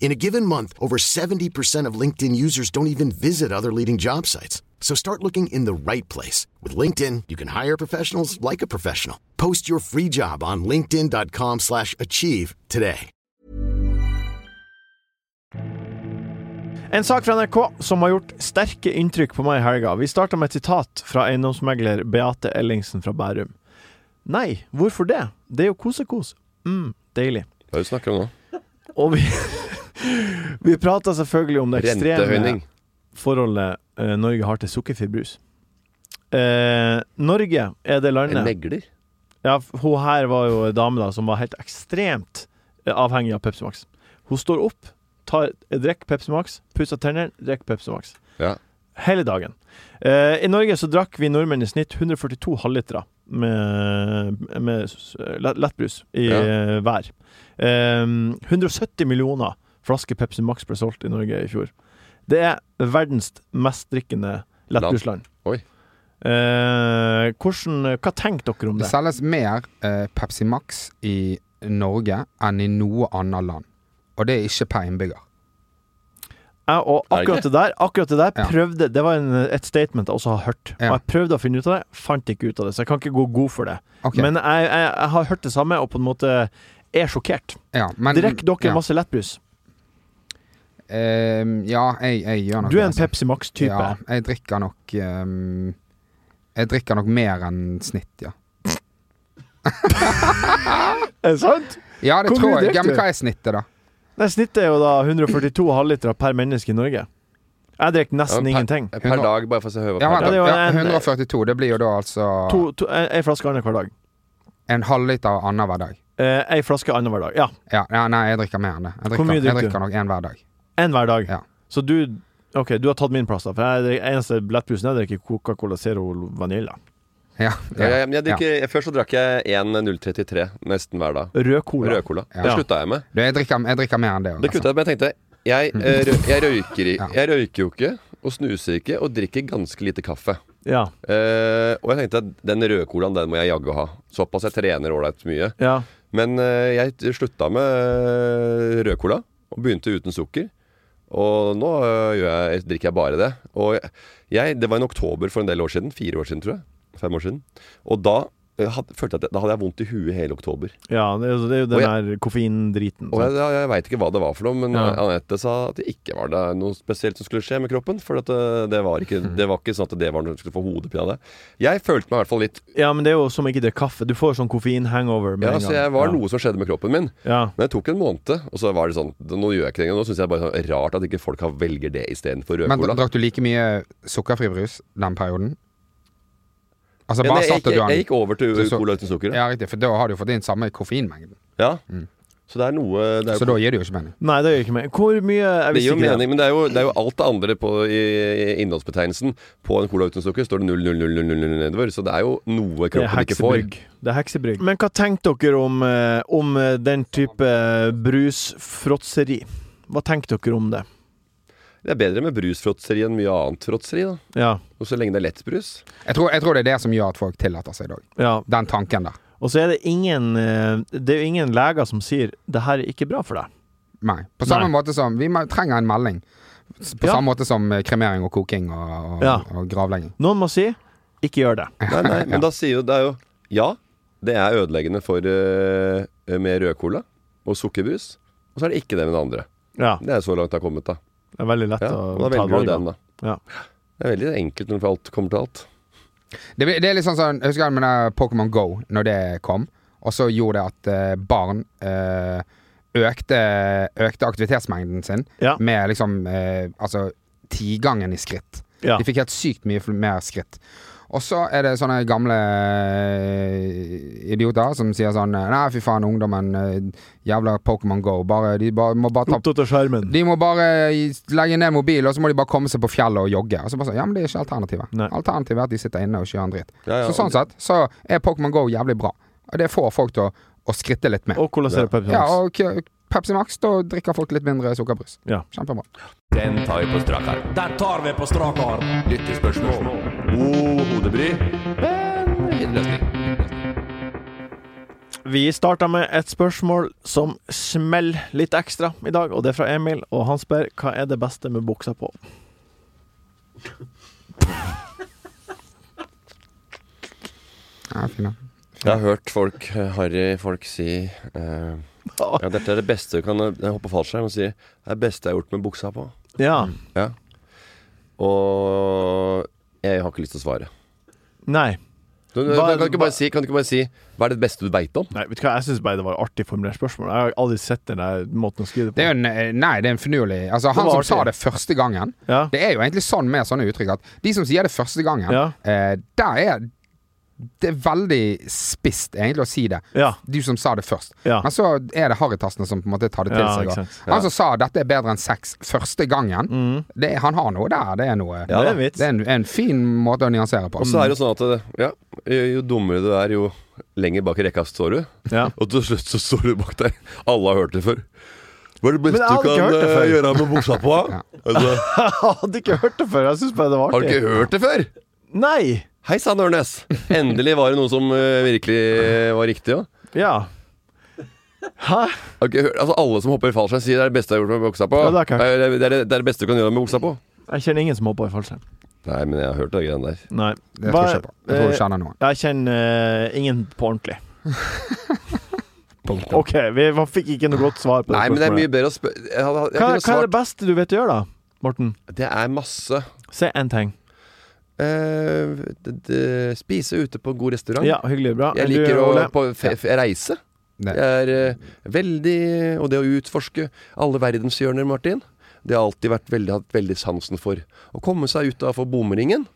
S7: In a given month, over 70% of LinkedIn users don't even visit other leading job sites. So start looking in the right place. With LinkedIn, you can hire professionals like a professional. Post your free job on linkedin.com/achieve slash achieve today.
S5: En sak fra NRK som har gjort sterke inntrykk på meg i helga. Vi starter med et sitat fra eiendomsmegler Beate Ellingsen fra Bærum. Nei, hvorfor det? Det er jo kosekos. Mm, deilig.
S6: Hva er det du snakker om nå?
S5: Og vi, vi prata selvfølgelig om det ekstreme
S6: Rentehøyning.
S5: forholdet eh, Norge har til sukkerfribrus. Eh, Norge er det
S6: En
S5: landet
S6: megler?
S5: ja, f- Hun her var jo en dame da som var helt ekstremt eh, avhengig av Pepsi Max. Hun står opp, tar, drikker Pepsi Max, pusser tennene, drikker Pepsi Max.
S6: Ja.
S5: Hele dagen. Eh, I Norge så drakk vi nordmenn i snitt 142 halvlitere med, med s- lett- lettbrus i
S6: Ja.
S5: eh, hver. Eh, 170 millioner flasker Pepsi Max ble solgt i Norge i fjor. Det er verdens mest drikkende lettbrusland.
S6: Oi.
S5: Eh, hvordan, hva tenker dere om
S4: Det
S5: det?
S4: selges mer eh, Pepsi Max i Norge enn i noe annet land. Og det er ikke per innbygger.
S5: Jeg, og
S6: Er det
S5: akkurat det der, akkurat det der
S4: Ja.
S5: prøvde Det var en, eh, et statement jeg også har hørt.
S4: Ja.
S5: Og jeg prøvde å finne ut av det, fant ikke ut av det. Så jeg kan ikke gå god for det.
S4: Ok,
S5: Men jeg, jeg, jeg har hørt det samme, og på en måte er sjokkert.
S4: ja, men,
S5: Drikk dere
S4: ja.
S5: masse lettbrus.
S4: Ehm, ja, jeg, jeg gjør nok
S5: Du er en
S4: altså.
S5: Pepsi Max-type.
S4: Ja, jeg drikker nok ehm, Jeg drikker nok mer enn snitt, ja.
S5: Er det sant?
S4: Ja, det
S5: Hvor mye
S4: tror jeg.
S5: drikker
S4: Ja, men
S5: du?
S4: hva er snittet, da?
S5: Nei, Snittet er jo da 142 halvlitere per menneske i Norge. Jeg drikker
S6: Ja,
S5: nesten
S6: men
S5: ingenting.
S6: Per, per dag, bare for å se høyere
S4: Ja,
S6: per
S4: vent,
S5: det
S6: dag.
S5: er jo
S4: da. ja,
S5: en-
S4: 142. Det blir jo da altså
S5: To, to, en, en flaske annenhver dag.
S4: en halvliter annenhver dag.
S5: Eh, en flaske annenhver dag. Ja,
S4: Ja, ja, nei, jeg drikker mer enn det. Jeg drikker,
S5: mye
S4: jeg
S5: drikker du?
S4: drikker nok én hver dag.
S5: en hver dag.
S4: Ja.
S5: Så du Ok, du har tatt min plass, da. For jeg drikker, eneste lettbrusen jeg drikker, er Coca-Cola Zero Vanilla.
S4: Ja,
S6: Ja,
S4: ja,
S6: jeg, men jeg drikker, Før så drakk jeg 1.033 nesten hver dag.
S5: Rød cola.
S6: Rød cola.
S4: Ja.
S6: Det slutta jeg med.
S4: Du, Jeg, drikker, jeg drikker mer enn det. altså. også,
S6: Det kutta jeg, men jeg tenkte jeg, eh, rø- jeg, røyker, i-
S4: Ja.
S6: jeg røyker jo ikke, og snuser ikke, og drikker ganske lite kaffe.
S5: Ja.
S6: Eh, og jeg tenkte at den røde colaen, den må jeg jaggu ha. Såpass jeg trener ålreit mye.
S5: ja.
S6: Men eh, jeg slutta med eh, rød cola, og begynte uten sukker. Og nå eh, gjør jeg, drikker jeg bare det. Og jeg, det var en oktober for en del år siden. Fire år siden, tror jeg. Fem år siden. Og da eh, had, følte jeg at jeg, da hadde jeg vondt i huet hele oktober.
S5: Ja, det, er jo- det er jo den
S6: Og jeg-
S5: der koffeindriten.
S6: Og
S5: sant?
S6: jeg, jeg, jeg veit ikke hva det var for noe, men eh,
S5: Ja.
S6: Anette sa at det ikke var det noe spesielt som skulle skje med kroppen. For at eh, det, var ikke, det var ikke sånn at det var noe du skulle få hodepine av det. Jeg følte meg i hvert fall litt
S5: Ja, men det er jo som å ikke drikke kaffe. Du får sånn koffein-hangover med
S6: Ja,
S5: en
S6: så
S5: gang.
S6: jeg var
S5: ja.
S6: noe som skjedde med kroppen min.
S5: Ja.
S6: Men det tok en måned, og så var det sånn Nå gjør jeg ikke det engang. Nå syns jeg bare sånn rart at ikke folk har velger det istedenfor rød
S4: Men
S6: cola.
S4: drakk du like mye sukkerfri brus den perioden? Altså
S6: Men
S4: bare
S6: jeg,
S4: satte
S6: jeg,
S4: du
S6: jeg,
S4: den
S6: gikk over til
S4: Til så-
S6: cola uten sukker. Ja.
S4: Ja, riktig, for da har du fått inn samme koffeinmengden.
S6: Så det er noe det er,
S4: Så da gir det jo ikke mening.
S5: Nei, det gjør ikke meg. Hvor mye Jeg
S6: det gir
S5: visste
S6: jo
S5: ikke det.
S6: mening, men det er jo, det er jo alt det andre på, i, i innholdsbetegnelsen. På en cola uten sukker står det 00000 nedover, så det er jo noe
S5: Det er
S6: kroppen ikke får.
S5: heksebrygg. Det er heksebrygg. Men hva tenkte dere om, eh, om eh, den type brusfråtseri? Hva tenkte dere om det?
S6: Det er bedre med brusfråtseri enn mye annet fråtseri, da.
S5: Ja.
S6: Og så lenge det er lettbrus.
S4: Jeg tror, jeg tror det er det som gjør at folk tillater seg i dag.
S5: ja.
S4: Den tanken der.
S5: Og så er det ingen eh, Det er jo ingen leger som sier 'det her er ikke bra for deg'.
S4: Nei. På samme
S5: Nei.
S4: måte som Vi må- trenger en melding. S- På
S5: Ja.
S4: samme måte som eh, kremering og koking og, og,
S5: Ja.
S4: og gravlegging.
S5: Noen må si 'ikke gjør det'.
S6: Nei, nei, men da sier jo det er jo Ja, det er ødeleggende for eh, med rød cola og sukkerbrus. Og så er det ikke det med det andre.
S5: Ja,
S6: Det er så langt det har kommet, da.
S5: det er veldig lett
S6: Ja,
S5: å
S6: og da
S5: ta et
S6: velger
S5: valg.
S6: du
S5: da.
S6: den, da.
S5: Ja.
S6: Det er veldig enkelt når alt kommer til alt.
S4: Det, blir- det er litt sånn sånn Jeg husker med den Pokémon Go, når det kom, og så gjorde det at eh, barn eh, økte, økte aktivitetsmengden sin
S5: Ja.
S4: med liksom eh, Altså tigangen i skritt.
S5: Ja.
S4: De fikk helt sykt mye fl- mer skritt. Og så er det sånne gamle eh, idioter som sier sånn Nei, fy faen, ungdommen. Eh, jævla Pokémon Go. Bare, de bare, må bare ta
S5: Opptatt av skjermen.
S4: de må bare legge ned mobilen, og så må de bare komme seg på fjellet og jogge. Og så bare sånn, ja, men det er ikke alternativet.
S5: Nei.
S4: Alternativet er at de sitter inne og ikke gjør en dritt.
S6: Ja, ja,
S4: så sånn sett så er Pokémon Go jævlig bra. Og det får folk til å, å skritte litt med.
S5: Og hvordan ser det på
S4: ja,
S5: episoden?
S4: og k- Pepsi Max, da drikker folk litt mindre sukkerbrus.
S5: Ja.
S4: Kjempebra.
S3: Den tar vi på strak arm.
S8: Den tar vi på strak arm.
S3: Lyttespørsmål. God hodebry. Men fin løsning.
S5: Vi starta med et spørsmål som smeller litt ekstra i dag, og det er fra Emil. Og han spør hva er det beste med buksa på.
S4: Ja, fin, ja.
S6: Jeg har hørt folk, eh, harry folk si eh, Ja, dette er det beste du kan eh, hoppe fallskjerm og si. Det er det beste jeg har gjort med buksa på.
S5: Ja.
S6: Og jeg har ikke lyst til å svare.
S5: Nei.
S6: Du, du,
S5: Hva-
S6: kan, du ikke bare si, kan du ikke bare si Hva er det beste du veit om?
S5: Nei, vet du hva, jeg syns bare det var et artig formulert spørsmål. Jeg har aldri sett den der måten å skrive
S4: Det
S5: det på.
S4: er jo en, eh, nei, det er en finurlig Altså, han
S5: var
S4: som
S5: artig.
S4: sa det første gangen
S5: Ja.
S4: Det er jo egentlig sånn med sånne uttrykk at de som sier det første gangen,
S5: Ja.
S4: eh, der er det er veldig spisst egentlig å si det.
S5: Ja.
S4: Du som sa det først.
S5: Ja.
S4: Men så er det harrytassene som på en måte tar det til
S5: Ja,
S4: seg.
S5: ikke
S4: og-
S5: sant.
S4: Han som sa 'dette er bedre enn sex' første gangen, det, han har noe der. Det er noe
S5: Ja, det er en vits.
S4: Det er en, en fin måte å nyansere på.
S6: Og så er det jo sånn at eh, ja, jo, jo dummere du er, jo lenger bak i rekka står du.
S5: Ja.
S6: Og til slutt så står du bak der. Alle har hørt det før. Hva er det
S5: Men jeg
S6: beste
S5: hadde
S6: du
S5: ikke
S6: kan
S5: hørt det
S6: eh,
S5: før.
S6: gjøre med buksa på? altså,
S5: Jeg hadde ikke hørt det før. Jeg syns bare det var
S6: har du
S5: artig.
S6: ikke hørt det før?
S5: Nei.
S6: Hei sann, Ørnes. Endelig var det noe som eh, virkelig eh, var riktig. Ja.
S5: Ja. Hæ?
S6: Har du ikke hørt, altså, alle som hopper i fallskjerm, sier det er det beste jeg har gjort med buksa på.
S5: Ja, det har jeg ikke
S6: det, er, det, er, det er det beste du kan gjøre med buksa på.
S5: Jeg kjenner ingen som hopper i fallskjerm.
S6: Nei, men jeg har hørt det greiene der.
S5: Nei.
S4: Det tror jeg
S5: Bare-
S4: ikke på. Jeg tror du
S5: eh,
S4: kjenner noen.
S5: Jeg kjenner eh, ingen på ordentlig.
S4: Punktum.
S5: OK, vi man fikk ikke noe godt svar på det
S6: Nei, men det er mye
S5: spørsmålet.
S6: bedre å spørre jeg, hadde- jeg,
S5: Hva,
S6: kunne
S5: hva er det
S6: svart-
S5: beste du vet å gjøre, da, Morten?
S6: Det er masse.
S5: Si én ting.
S6: Eh, d d spise ute på god restaurant.
S5: Ja, hyggelig. Bra.
S6: Jeg
S5: Du,
S6: liker å
S5: Ole?
S6: på fe fe reise.
S4: Det.
S6: Jeg er eh, veldig Og det å utforske alle verdenshjørner, Martin, det har alltid vært veldig, hatt veldig sansen for. Å komme seg utafor bomringen.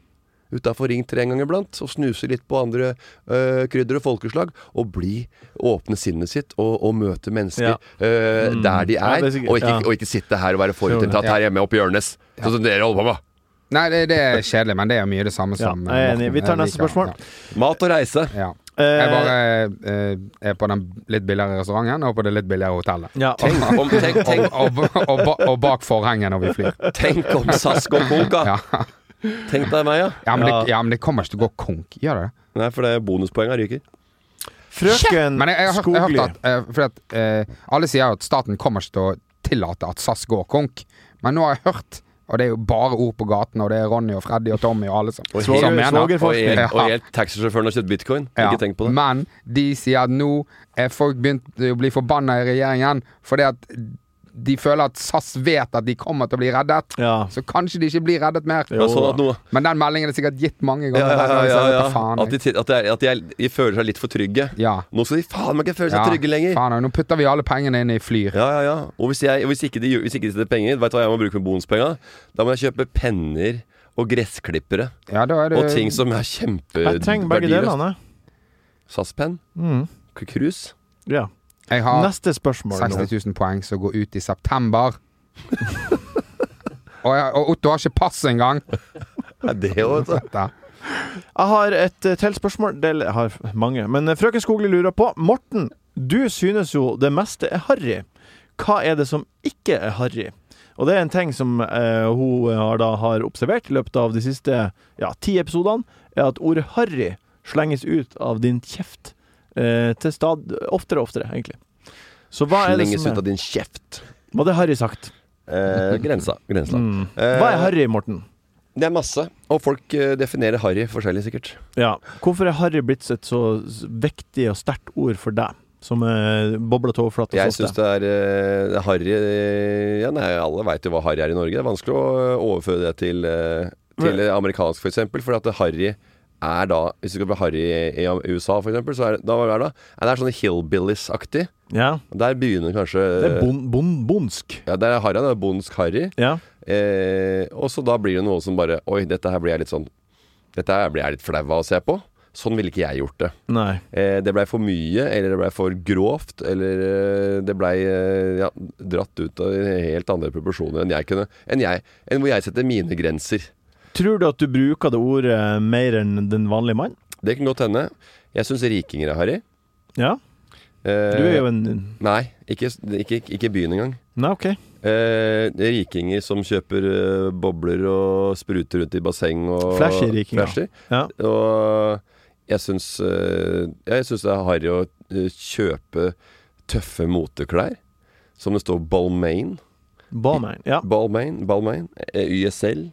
S6: Utafor Ring tre en gang iblant, og snuse litt på andre eh, krydder og folkeslag. Og bli åpne sinnet sitt, og, og møte mennesker eh,
S5: Mm.
S6: der de
S5: Ja,
S6: er.
S5: det er sikkert-
S6: og, ikke,
S5: ja.
S6: og ikke sitte her og være forutinntatt
S4: Ja.
S6: her hjemme oppe i Ørnes, sånn som dere holder på med.
S4: Nei, det, det er kjedelig, men det er jo mye det samme
S5: Ja,
S4: som
S5: jeg er enig. Vi tar
S4: Jeg
S5: neste
S4: liker-
S5: spørsmål.
S6: Mat og reise.
S4: Ja, ja.
S5: Eh,
S4: Jeg bare eh, er på den litt billigere restauranten og på det litt billigere hotellet.
S5: ja.
S6: Tenk om, tenk, tenk,
S4: Og, og, og, ba- og bak forhenget når vi flyr.
S6: tenk om SAS går konk, da.
S4: Ja.
S6: Tenk deg meg, ja.
S4: Ja, men det, ja, men det kommer ikke til å gå konk. Gjør det det?
S6: Nei, for det er bonuspoenga ryker.
S5: Frøken
S4: Men jeg, jeg, har hørt- jeg har
S5: Skogli.
S4: hørt at, eh, fordi at eh, Alle sier jo at staten kommer ikke til å tillate at SAS går konk, men nå har jeg hørt og det er jo bare ord på gaten, og det er Ronny og Freddy og Tommy og alle som, som
S5: Svoger- svoger-
S6: Og
S5: Forskning.
S6: helt,
S4: Ja.
S6: og helt taxisjåføren har kjøpt bitcoin.
S4: Ja,
S6: Ikke tenk på det.
S4: Men de sier at nå er folk begynt å bli forbanna i regjeringen fordi at de føler at SAS vet at de kommer til å bli reddet.
S5: Ja.
S4: Så kanskje de ikke blir reddet mer.
S6: Det var sånn at noe
S4: Men den meldingen er sikkert gitt mange
S6: ja,
S4: ganger.
S6: ja, ja, ja, ja.
S4: Så jeg vet da faen,
S6: At, de,
S4: jeg.
S6: til- at, de, er- at de, er, de føler seg litt for trygge.
S4: ja.
S6: Nå skal de faen meg ikke føle seg
S4: Ja,
S6: trygge lenger.
S4: Faen, nå putter vi alle pengene inn i Flyr.
S6: Ja, ja, ja. Og hvis, jeg, hvis, ikke de, gjør- hvis ikke de setter penger, vet du hva jeg må bruke med bonuspenga? Da må jeg kjøpe penner og gressklippere
S4: Ja, da er det
S6: og ting som er
S5: Jeg trenger begge
S6: kjempeverdiløst.
S5: delene.
S6: SAS-penn,
S5: Mm.
S6: cruise.
S5: Ja.
S4: Jeg har
S5: Neste spørsmål nå.
S4: 60 000 poeng som går ut i september. og, jeg, og Otto har ikke pass engang!
S6: Er det jo, vet du.
S4: Dette.
S5: Jeg har et eh, til spørsmål. Del, jeg har mange. Men eh, frøken Skogli lurer på Morten, du synes jo det meste er harry. Hva er det som ikke er harry? Og det er en ting som eh, hun har, da, har observert i løpet av de siste ja, ti episodene, er at ordet harry slenges ut av din kjeft eh, til stad oftere og oftere, egentlig. Så hva er det
S3: Slenges
S5: som
S3: ut av
S5: er
S3: din kjeft.
S5: Hva hadde Harry sagt?
S3: Eh, grensa. grensa.
S5: Mm.
S3: Eh,
S5: Hva er harry, Morten?
S3: Det er masse. Og folk eh, definerer harry forskjellig, sikkert.
S5: Ja. Hvorfor er harry blitt et så s- viktig og sterkt ord for deg, som eh, bobler til overflaten
S3: Jeg
S5: hos
S3: syns
S5: oss?
S3: det er eh, det er harry eh, ja, nei, Alle veit jo hva harry er i Norge. Det er vanskelig å overføre det til, eh, til eh, amerikansk, f.eks. For eksempel, fordi at harry er da Hvis du skal bli harry i i USA, f.eks., så er det, da, hva er det, da? Nei, det er sånn hillbillies-aktig.
S5: Ja.
S3: Der begynner kanskje
S5: Det er bon, bon, bondsk.
S3: Ja, der er harry. Det er bondsk harry.
S5: Ja.
S3: Eh, og så da blir det noe som bare Oi, dette her blir jeg litt sånn Dette her blir jeg litt flau av å se på. Sånn ville ikke jeg gjort det.
S5: Nei.
S3: Eh, det blei for mye, eller det blei for grovt, eller eh, det blei eh, ja, dratt ut av helt andre proporsjoner enn jeg kunne Enn jeg, enn hvor jeg setter mine grenser.
S5: Tror du at du bruker det ordet mer enn den vanlige mann?
S3: Det kan godt hende. Jeg syns rikinger er harry.
S5: Ja.
S3: Eh,
S5: Du er jo en
S3: Nei, ikke, ikke, ikke byen engang.
S5: Nei, OK.
S3: Eh, det er rikinger som kjøper eh, bobler og spruter rundt i basseng og
S5: Flashy rikinger.
S3: Flashy.
S5: Ja.
S3: Og jeg syns eh, Jeg syns det er harry å eh, kjøpe tøffe moteklær. Som det står Balmain.
S5: Ballman. Ja.
S3: Balmain, Balmain eh, YSL.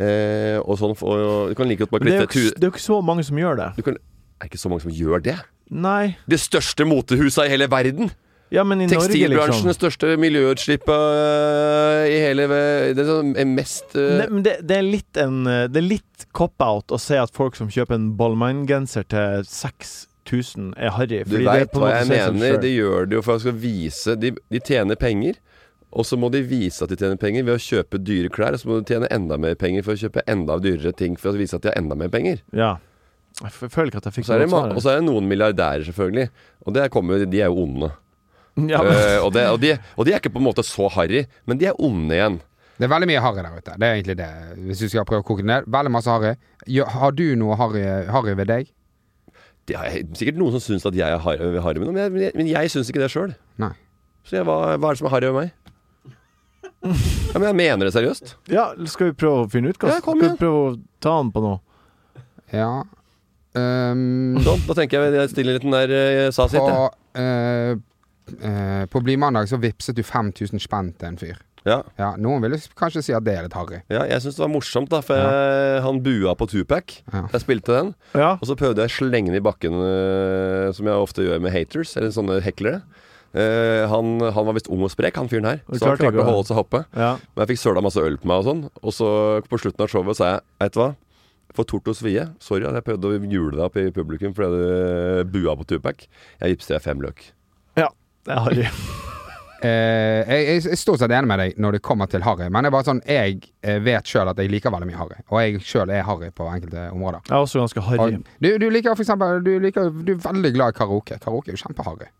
S3: Eh, og sånn for, og, Du kan like godt bare
S5: Men det er, jo
S3: klippe
S5: ikke,
S3: tu-
S5: det er jo ikke så mange som gjør det.
S3: du kan, Det er ikke så mange som gjør det.
S5: Nei.
S3: Det største motehuset i hele verden!
S5: Ja, men i Norge,
S3: Tekstilbransjen, altså.
S5: liksom.
S3: det største miljøutslippet øh, i hele ve- Det er sånn, eh, mest øh,
S5: Det, men det, det er litt en eh, Det er litt cop-out å si at folk som kjøper en Ballman-genser til 6000, er harry.
S3: Du
S5: fordi det er
S3: veit
S5: på en
S3: hva
S5: måte
S3: jeg
S5: å si seg
S3: mener.
S5: selv.
S3: De gjør det jo for å skal vise de, de tjener penger, og så må de vise at de tjener penger ved å kjøpe dyre klær. Og så må de tjene enda mer penger for å kjøpe enda dyrere ting for å vise at de har enda mer penger.
S5: Ja. Jeg f- føler ikke at jeg
S3: Og
S5: fikk
S3: så er det,
S5: noe
S3: ma-
S5: svar.
S3: og så er det noen milliardærer, selvfølgelig. Og det kommer, jo- de er jo onde.
S5: Ja,
S3: Eh, og, det, og, de, og de er ikke på en måte så harry, men de er onde igjen.
S4: Det er veldig mye harry der ute. Det er egentlig det, hvis du skal prøve å koke det ned. Veldig masse harry. Gjør- Har du noe harry, harry ved deg?
S3: Det er sikkert noen som syns at jeg er harry, harry med noe, men jeg- men jeg, men jeg syns ikke det sjøl.
S4: Nei.
S3: Så jeg, hva, hva er det som er harry med meg? Ja, men jeg mener det seriøst.
S5: ja, skal vi prøve å finne ut hva
S3: Ja, kom
S5: Skal
S3: igjen.
S5: vi prøve å ta han på noe?
S4: Ja Ehm,
S3: Sånn, da tenker jeg jeg stiller litt den der eh, sa sitt. jeg.
S4: På, eh, eh, på Blimandag så vippset du 5000 spenn til en fyr.
S3: Ja.
S4: Ja, Noen ville s- kanskje si at det er litt harry.
S3: Ja, jeg syns det var morsomt, da, for jeg, han bua på Tupac.
S4: Ja.
S3: Jeg spilte den,
S5: Ja.
S3: og så prøvde jeg å slenge den i bakken, eh, som jeg ofte gjør med haters, eller sånne heklere. Eh, han, han var visst ung og sprek, han fyren her,
S5: Det
S3: så han
S5: klarte ikke
S3: klarte å
S5: å-
S3: holde seg oppe.
S5: ja.
S3: Men jeg fikk søla masse øl på meg og sånn. Og så på slutten av showet sa jeg, veit du hva, for Torto Svie, sorry at jeg prøvde å jule deg opp i publikum fordi du eh, bua på Tupac. Jeg vippser deg fem løk.
S5: Ja, det er harry.
S4: Eh, jeg, jeg, jeg er stort sett enig med deg når det kommer til harry, men det er bare sånn, jeg eh, vet sjøl at jeg liker veldig mye harry. Og jeg sjøl er harry på enkelte områder.
S5: Jeg er også ganske harry.
S4: Og du, du liker for eksempel Du, liker, du er veldig glad i karaoke. Karaoke er jo kjempeharry.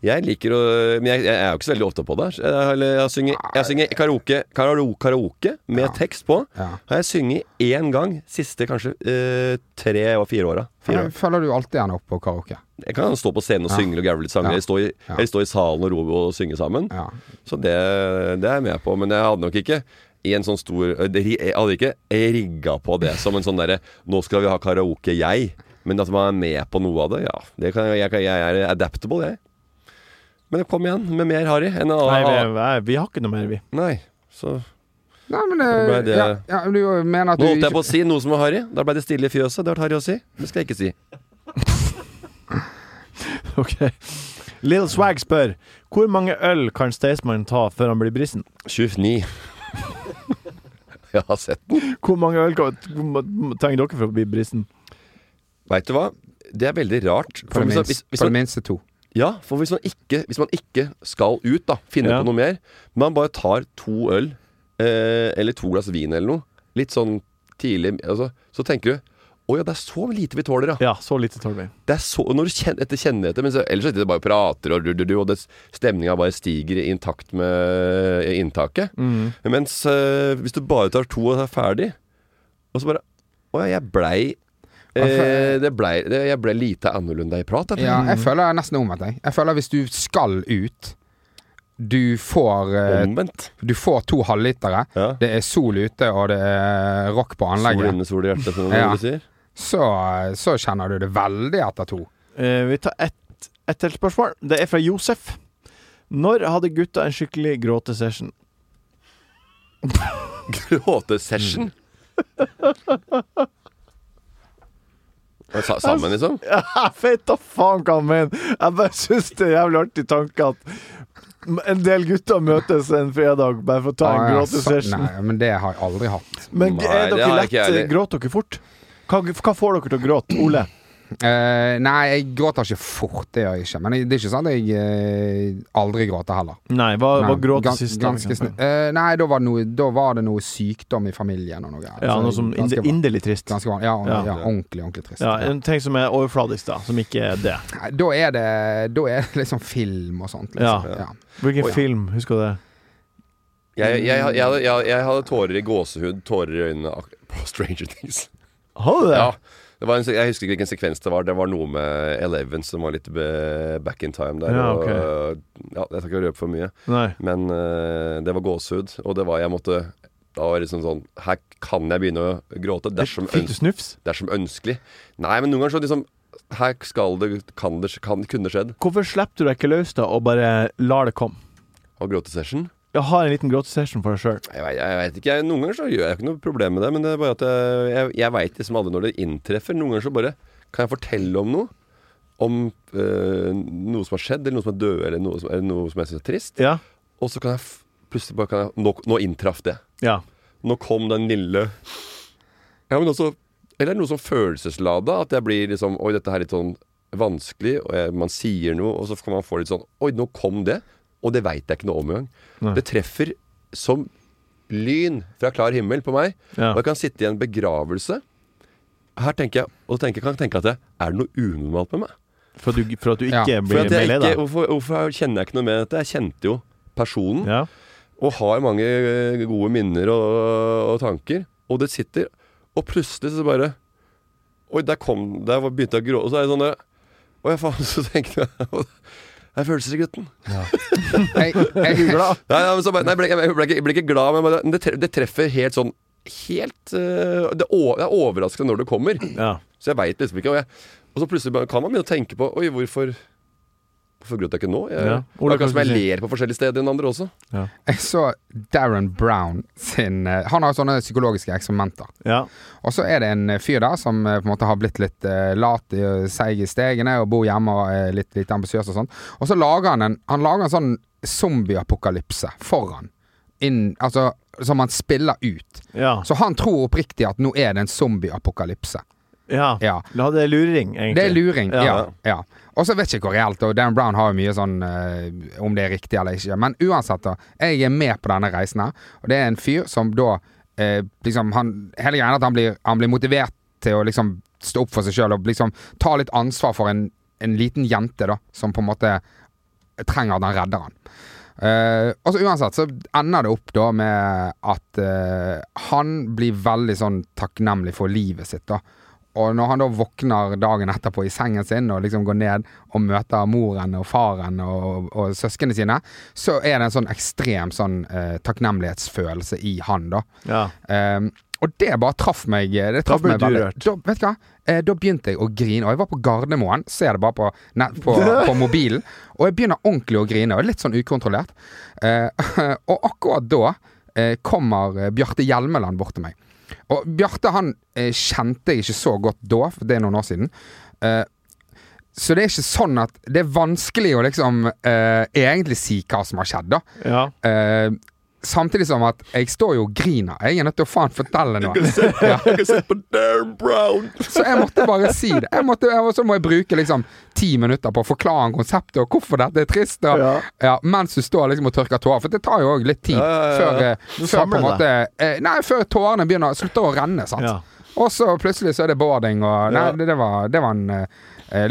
S3: Jeg liker å Men jeg, jeg er jo ikke så veldig ofte på det. Jeg, eller jeg, synger, jeg synger karaoke, karao- karaoke med tekst på.
S4: Ja.
S3: Har jeg sunget én gang siste kanskje eh, tre og fire åra. Fire år.
S4: Følger du alltid gjerne opp på karaoke?
S3: Jeg kan stå på scenen og
S4: Ja.
S3: synge og gaule litt sanger.
S4: Ja.
S3: Eller stå i,
S4: Ja.
S3: eller stå i salen og roe og synge sammen.
S4: Ja.
S3: Så det, det er jeg med på. Men jeg hadde nok ikke i en sånn stor Jeg hadde ikke rigga på det som en sånn derre Nå skal vi ha karaoke, jeg. Men at man er med på noe av det, ja. Det kan, jeg, jeg, jeg er adaptable, jeg. Men kom igjen med mer harry. enn å-
S5: Nei, vi, er- vi har ikke noe mer, vi.
S3: Nei. Så
S4: Nei, men eh,
S3: Da ble det-
S4: ja, ja, men Du mener at
S3: nå
S4: du
S3: holdt jeg
S4: ikke
S3: på å si noe som var harry. Da ble det stille i fjøset. Det har vært harry å si. Det skal jeg ikke si.
S5: Ok. Lill Swag spør hvor mange øl kan Staysman ta før han blir brisen?
S3: 29. jeg har sett den.
S5: Hvor mange øl kan, trenger dere for å bli brisen?
S3: Veit du hva? Det er veldig rart.
S4: på
S3: For
S4: det,
S3: hvis,
S4: minste,
S3: hvis, hvis,
S4: på det minste to.
S3: Ja, for hvis man ikke, hvis man ikke skal ut, da, finne
S5: Ja.
S3: på noe mer Man bare tar to øl, eh, eller to glass vin eller noe, litt sånn tidlig altså, Så tenker du å ja, det er så lite vi tåler, ja.
S5: Ja, så lite tåler vi.
S3: Det er så, når du kjenner etter, kjenner etter men så, ellers sitter du bare og prater, og, du, du, du, og det, stemninga bare stiger i takt med inntaket.
S4: Mm.
S3: Mens eh, hvis du bare tar to og er ferdig, og så bare Å ja, jeg blei eh, det blei, det, Jeg blei lite annerledes i prat. dette her».
S4: Ja, jeg føler nesten omvendt, jeg. Jeg føler hvis du skal ut Du får eh,
S3: Omvendt.
S4: Du får to halvlitere.
S3: Ja.
S4: Det er sol ute, og det er rock på
S3: Sol
S4: anlegget.
S3: inne, sol i hjertet, som
S4: Ja.
S3: du sier.
S4: Så, så kjenner du det veldig etter to.
S5: Eh, vi tar ett et til spørsmål. Det er fra Josef. Når hadde gutta en skikkelig gråtesession?
S3: Gråtesession. Mm. Sa- Sammen, liksom?
S5: Jeg vet da faen hva han mener! Jeg bare syns det er jævlig artig tanke at en del gutter møtes en fredag bare for å ta en
S4: Ah, ja, så-
S5: gråtesession.
S4: Nei, men det har jeg aldri hatt.
S5: Men
S3: Nei,
S5: er
S3: det
S5: dere
S3: har jeg
S5: lett
S3: ikke heller.
S5: Gråter dere fort? Hva, hva får dere til å gråte, Ole?
S4: Eh, nei, jeg gråter ikke fort, det gjør jeg ikke. Men jeg- det er ikke sånn at jeg eh, aldri gråter heller.
S5: Nei, hva,
S4: Nei,
S5: hva gråt
S4: gans-
S5: sist? da,
S4: Ganske
S5: for eksempel?
S4: snill. Eh, nei, da var, det noe, da var det noe sykdom i familien og noe. greier.
S5: Ja,
S4: Så
S5: noe som
S4: ganske
S5: inde,
S4: van-
S5: inderlig trist.
S4: Ganske van- ja,
S5: Ja.
S4: ja. ordentlig, ordentlig trist.
S5: Ja,
S4: Ja.
S5: en ting som er overfladisk, da. Som ikke er det.
S4: Nei, Da er det Da er det liksom film og sånt,
S5: Ja.
S4: liksom. Ja.
S5: Hvilken
S3: Oi.
S5: film? Husker du det?
S3: Jeg, jeg, jeg, jeg, jeg, jeg hadde tårer i gåsehud, tårer i øynene ak- på Stranger Things.
S5: Har du det?
S3: Ja. Det var en, se- jeg husker ikke hvilken sekvens det var. Det var noe med Eleven som var litt be- back in time der.
S5: Ja,
S3: og,
S5: ok.
S3: øh, ja, jeg skal ikke røpe for mye,
S5: Nei.
S3: men øh, det var gåsehud. Og det var jeg måtte Da var det liksom sånn Her kan jeg begynne å gråte dersom,
S5: Fikk du
S3: øns
S5: snufs?
S3: dersom ønskelig. Nei, men noen ganger så liksom Her skal det Kan det kan, kunne skjedd.
S5: Hvorfor slipper du deg ikke løs da og bare lar det komme?
S3: Og gråtesession.
S5: Jeg har en liten gråtesession for deg sjøl.
S3: Jeg, vet- jeg veit ikke. Jeg, noen ganger så gjør jeg ikke noe problem med det, men det er bare at jeg, jeg, jeg veit liksom aldri når det inntreffer. Noen ganger så bare kan jeg fortelle om noe. Om eh, noe som har skjedd, eller noe som er død, eller noe som, eller noe som jeg syns er trist.
S5: Ja.
S3: Og så kan jeg f plutselig bare kan jeg, nå, nå inntraff det.
S5: ja.
S3: Nå kom den lille Ja, men også Eller noe sånn følelseslada. At jeg blir liksom Oi, dette her er litt sånn vanskelig. Og jeg, man sier noe, og så kan man få litt sånn Oi, nå kom det. Og det veit jeg ikke noe om engang.
S5: Nei.
S3: Det treffer som lyn fra klar himmel på meg.
S5: Ja.
S3: Og jeg kan sitte i en begravelse. Her tenker jeg, og tenker, kan jeg tenke at jeg, er det noe unormalt med meg?
S5: For, at du, for at du
S4: Ja.
S5: ikke
S3: For
S5: blir
S3: at jeg
S5: mer lei
S3: ikke,
S5: deg?
S3: hvorfor, hvorfor kjenner jeg ikke noe med dette? Jeg kjente jo personen
S5: Ja.
S3: og har mange eh, gode minner og, og tanker, og det sitter, og plutselig så bare Oi, der kom Der var- begynte jeg å gråte. Og så er det sånn der Å ja, faen, så tenkte jeg Jeg er følelsesgutten.
S4: Jeg, jeg,
S3: Nei, nei, men så bare, nei, jeg, ble, jeg, ble ikke, jeg ble ikke glad, men bare, men det, tre- det treffer helt sånn Helt eh, det, å- det er overraskende når det kommer.
S5: ja.
S3: Så jeg veit liksom ikke. Og, jeg, og så plutselig bare, kan man begynne å tenke på Oi, hvorfor Hvorfor gråt jeg ikke nå? Jeg,
S5: Ja.
S3: Det er akkurat som jeg
S5: Hvordan kan du si?
S3: ler på forskjellige steder enn andre også.
S4: jeg så Darren Brown sin eh, Han har jo sånne psykologiske eksperimenter.
S5: ja.
S4: Og så er det en fyr der som eh, på en måte har blitt litt eh, lat, eh, seig i stegene og bor hjemme og er litt lite ambisiøs og sånn. Og så lager han en Han lager en sånn zombieapokalypse foran. Inn, altså, som han spiller ut.
S5: ja.
S4: Så han tror oppriktig at nå er det en zombieapokalypse.
S5: ja.
S4: Ja.
S5: La det luring, egentlig.
S4: Det er luring.
S5: Ja.
S4: Ja. ja. Og så vet jeg ikke hvor reelt, og Dan Brown har jo mye sånn eh, om det er riktig eller ikke. Men uansett, da. Jeg er med på denne reisen her, og det er en fyr som da eh, liksom han, Hele greia er at han blir, han blir motivert til å liksom stå opp for seg sjøl og liksom ta litt ansvar for en, en liten jente, da, som på en måte trenger at han redder han. Eh, og så uansett så ender det opp da med at eh, han blir veldig sånn takknemlig for livet sitt, da. Og når han da våkner dagen etterpå i sengen sin og liksom går ned og møter moren og faren og, og søsknene sine, så er det en sånn ekstrem sånn eh, takknemlighetsfølelse i han, da.
S5: Ja.
S4: Ehm, og det bare traff meg eh, det
S5: Da
S4: traff
S5: ble
S4: meg
S5: du
S4: veldig.
S5: rørt.
S4: Da, vet du hva? Eh, da begynte jeg å grine. Og jeg var på Gardermoen, ser det bare på, nett, på, på mobilen. Og jeg begynner ordentlig å grine, og litt sånn ukontrollert. Eh, og akkurat da eh, kommer eh, Bjarte Hjelmeland bort til meg. Og Bjarte han eh, kjente jeg ikke så godt da, for det er noen år siden. Eh, så det er ikke sånn at Det er vanskelig å liksom eh, egentlig si hva som har skjedd, da.
S5: ja.
S4: Eh, samtidig som at jeg står jo og griner. Jeg er nødt til å faen fortelle noe. Ja.
S3: Jeg har sett på Darren Brown!
S4: Så jeg måtte bare si det. Jeg måtte, og så må jeg bruke liksom ti minutter på å forklare konseptet og hvorfor dette er trist. Og, ja.
S5: Ja.
S4: mens du står liksom og tørker tårer. For det tar jo òg litt tid før, eh,
S5: Du
S4: før på en
S5: samler
S4: måte eh, Nei, før tårene begynner slutter å renne. Sant?
S5: Ja.
S4: Og så plutselig så er det boarding og Nei,
S3: Ja.
S4: det, det, var, det var en eh,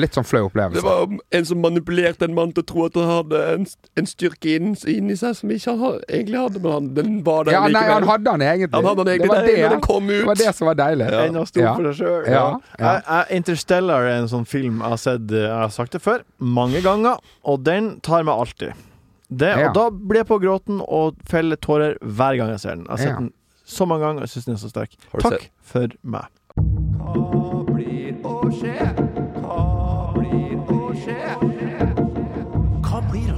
S4: litt sånn flau opplevelse.
S3: Det var en som manipulerte en mann til å tro at han hadde en, en styrke inn- inni seg som ikke han ha- egentlig hadde, men han, den var der
S4: ja, nei, han
S3: likevel.
S4: hadde den egentlig.
S3: Han hadde den egentlig
S4: det, var
S3: der,
S4: det,
S3: men den kom
S4: det
S3: ut.
S4: var det som var deilig.
S5: Enn å stå
S4: Ja.
S5: for seg sjøl.
S4: Ja, ja.
S5: Jeg- jeg- Interstellar eh, er en sånn film jeg har sett Jeg har sagt det før, mange ganger, og den tar meg alltid. Det,
S4: Ja.
S5: Og da blir jeg på gråten og feller tårer hver gang jeg ser den. Jeg har sett
S4: Ja.
S5: den så mange ganger, og jeg syns den er så sterk.
S6: Har du
S5: Takk
S6: sett-
S5: for meg.
S2: Hva blir å skje? Hva blir å skje? Hva blir å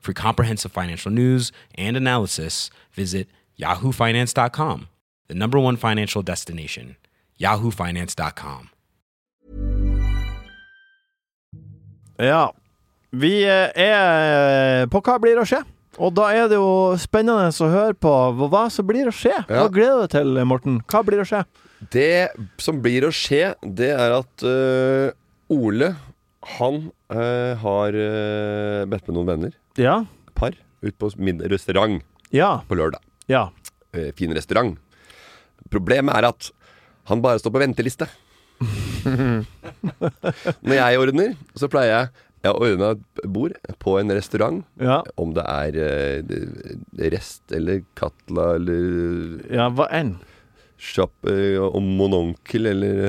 S8: For comprehensive financial news and analysis, visit yahoofinance.com, the number one financial destination, yahoofinance.com.
S5: Ja. Vi eh, er eh, på Hva blir å skje? Og da er det jo spennende å høre på hva- hva som blir å skje. Hva
S6: Ja.
S5: gleder du deg til, Morten? Hva blir å skje?
S6: Det som blir å skje, det er at øh, Ole, han øh, har øh, bedt med noen venner,
S5: Ja.
S6: par, ut på min restaurant
S5: Ja.
S6: på lørdag.
S5: Ja.
S6: Eh, fin restaurant. Problemet er at han bare står på venteliste. Når jeg ordner, så pleier jeg jeg har ordna et bord på en restaurant.
S5: Ja.
S6: Om det er eh, rest eller Katla eller
S5: ja hva enn.
S6: Sjapp eh, og mononkel eller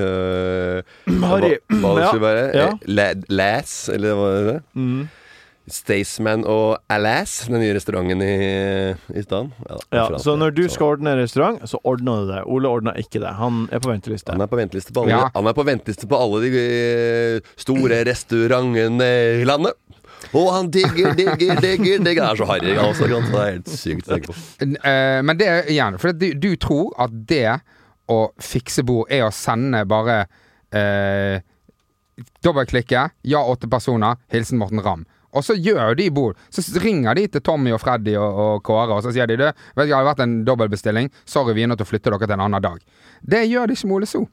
S6: eh,
S5: Harry.
S6: Hva, hva det
S5: Ja,
S6: skulle være.
S5: ja.
S6: Eh, Lad- Lass, eller hva er det? Staysman og Alass, den nye restauranten i, i staden. Ja,
S5: Ja,
S6: for
S5: så
S6: alt
S5: når du
S6: det. Så
S5: skal ordne restaurant, så ordner du det. Ole ordner ikke det. Han er på venteliste.
S6: Han er på venteliste på alle,
S4: Ja.
S6: han er på venteliste på alle de eh, store restaurantene i landet. Og han digger, digger, digger, digger. Det er så harry, han også. ikke sant? Det er helt sykt å tenke på.
S4: N- eh, Men det er igjen, for du, du tror at det å fikse bord er å sende bare eh, Dobbeltklikke, ja, åtte personer, hilsen Morten Ramm. Og så gjør de bord. Så s- ringer de til Tommy og Freddy og, og Kåre, og så sier de det. Vet du, det har vært en dobbeltbestilling. Sorry, vi er nødt til å flytte dere til en annen dag. Det gjør de ikke med Ole So.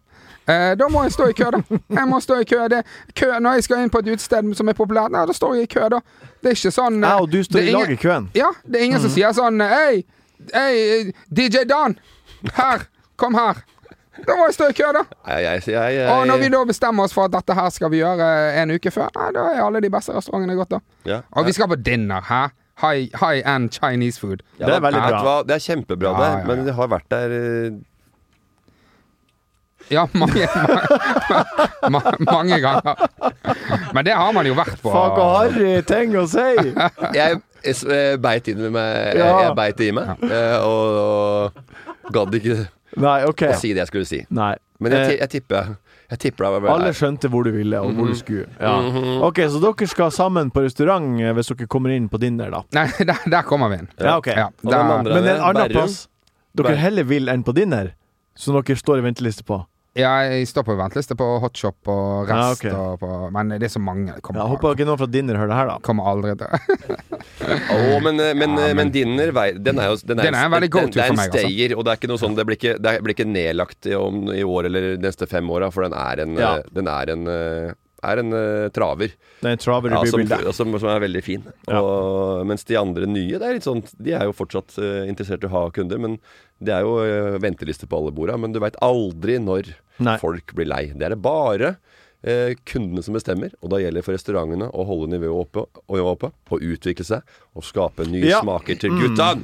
S4: Eh, da må jeg stå i kø, da. Jeg må stå i kø. Det, kø når jeg skal inn på et utested som er populært, nei, da står jeg i kø, da. Det er ikke sånn eh,
S5: Jeg og du står
S4: det er
S5: i lag
S4: ingen-
S5: i køen. Mhm.
S4: ja, det er ingen som sier sånn Hei, hei, DJ Dan. Her. Kom her. Da må jeg stå i kø, da.
S6: Nei, jeg, jeg, jeg, jeg,
S4: Og når vi da bestemmer oss for at dette her skal vi gjøre en uke før, nei, da er alle de beste restaurantene gått, da.
S6: ja.
S4: Og vi skal på dinner, hæ? High, high end Chinese food.
S5: Det er veldig
S6: vet du
S5: bra.
S6: hva? Det er kjempebra
S4: Ja,
S6: der,
S4: ja, ja.
S6: men det har vært der eh,
S4: Ja, mange, mange, mange ganger. Men det har man jo vært på.
S5: Fuck og harry ting å si!
S6: jeg, jeg s- eh, beit inn i meg.
S5: Ja.
S6: Jeg, jeg beit det i meg. eh, Og, og gadd ikke
S5: Nei, OK.
S6: å si det jeg skulle si.
S5: Nei.
S6: Men jeg, ti-
S5: Eh,
S6: jeg tipper Jeg tipper det var
S5: alle skjønte hvor du ville, og
S6: Mhm.
S5: hvor du skulle. Ja. OK, så dere skal sammen på restaurant eh, hvis dere kommer inn på dinner, da.
S4: Nei, der, der kommer vi inn.
S5: Ja, ok.
S4: Ja,
S6: Og
S4: der-
S6: den andre-
S5: Men en annen
S6: Berrum.
S5: plass dere
S6: Berrum.
S5: heller vil enn på dinner, som dere står i venteliste på.
S4: jeg står på venteliste på hotshop og
S5: Ja,
S4: rest
S5: ok.
S4: og på Men det er så mange. det Kommer,
S5: Ja, håper ikke noen fra dinner hører det her, da.
S4: kommer aldri til
S6: Å, men, eh, men, eh, men dinner vei- Den er jo den
S4: Den er en veldig go-to
S6: den- det er
S4: for
S6: en
S4: meg, altså.
S6: stayer, og det er ikke noe sånn Det blir ikke, det blir ikke nedlagt i, om, i år eller de neste fem åra, for den er en,
S5: Ja.
S6: eh, den er en, eh, er en eh, traver
S5: Det er en travel
S6: ja, som,
S5: reviewbilde.
S6: som, som er veldig fin.
S5: Ja.
S6: Og, mens de andre nye, det er litt sånn De er jo fortsatt eh, interessert i å ha kunder, men det er jo eh, venteliste på alle borda. Men du veit aldri når
S5: Nei.
S6: folk blir lei. Det er det bare eh, kundene som bestemmer, og da gjelder det for restaurantene å holde nivået oppe og, nivået oppe, og utvikle seg og skape nye
S5: Ja.
S6: smaker til gutta.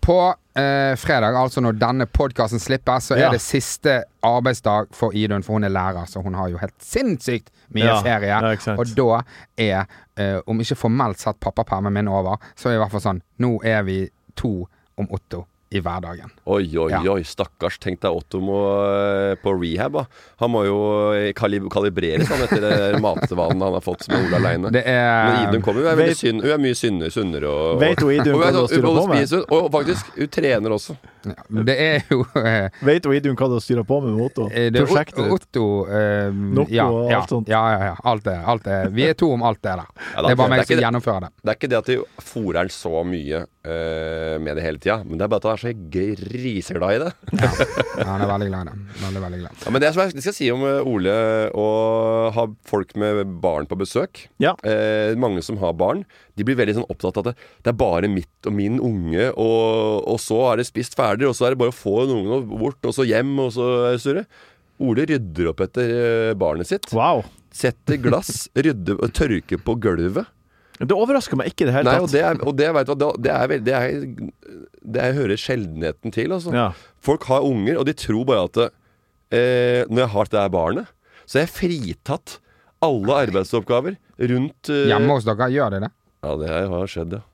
S4: På eh, fredag, altså når denne podkasten slipper, så er
S5: Ja.
S4: det siste arbeidsdag for Idun, for hun er lærer, så hun har jo helt sinnssykt mye
S5: Ja,
S4: ferie.
S5: ja, ikke sant.
S4: og da er, eh, om ikke formelt sett pappapermen min over, så er i hvert fall sånn Nå er vi to om Otto i hverdagen.
S6: Oi, oi,
S4: Ja.
S6: oi, stakkars. Tenk deg Otto må, eh, på rehab. Da. Han må jo eh, kalib kalibreres han, etter det matvanene han har fått som Ole aleine.
S4: Det
S6: Men Idun
S4: er
S6: kommer jo, hun er, veldig
S5: Eh, Vet-
S6: sunn, hun er mye sunnere, sunnere og,
S5: Vet hun Idun
S6: og,
S5: hva hun
S3: sånn,
S6: og,
S5: styrer
S6: og,
S5: på med?
S6: spiser, hun, og faktisk, hun trener også.
S4: Det er jo eh,
S5: Vet du, Idun, hva du styrer på med moto?
S4: Eh, det er
S5: Prosjektet
S4: Ot-
S5: ditt?
S4: Otto eh,
S5: Noko
S4: ja,
S5: og
S4: ja,
S5: alt sånt.
S4: Ja, ja, ja. Alt det. Alt det. Vi er to om alt det der.
S6: Ja,
S4: det er bare
S6: det er
S4: meg
S6: ikke
S4: som
S6: det.
S4: gjennomfører det.
S6: Det er ikke det at de fôrer han så mye eh, med det hele tida, men det er bare at han
S3: er så griseglad i det.
S4: Ja, han er veldig glad i det. Veldig, veldig glad.
S3: Ja, men det som jeg skal si om eh, Ole å ha folk med barn på besøk
S5: Ja.
S3: eh, Mange som har barn, de blir veldig sånn opptatt av at det, det er bare mitt og min unge, og, og så er det spist ferdig, og så er det bare å få en unge bort, og så hjem, og så er det surre. Ole rydder opp etter eh, barnet sitt.
S5: Wow.
S3: Setter glass, rydder og tørker på gulvet.
S5: Det overrasker meg ikke i det hele
S3: Nei,
S5: tatt.
S3: og det er, og det, vet du, hva, det, er, vel- det, er, det er hører sjeldenheten til. Altså.
S5: Ja.
S3: Folk har unger, og de tror bare at eh, Når jeg har det der barnet, så er jeg fritatt alle arbeidsoppgaver rundt eh,
S4: Hjemme hos dere, gjør de det?
S3: Ja, det her har skjedd, ja.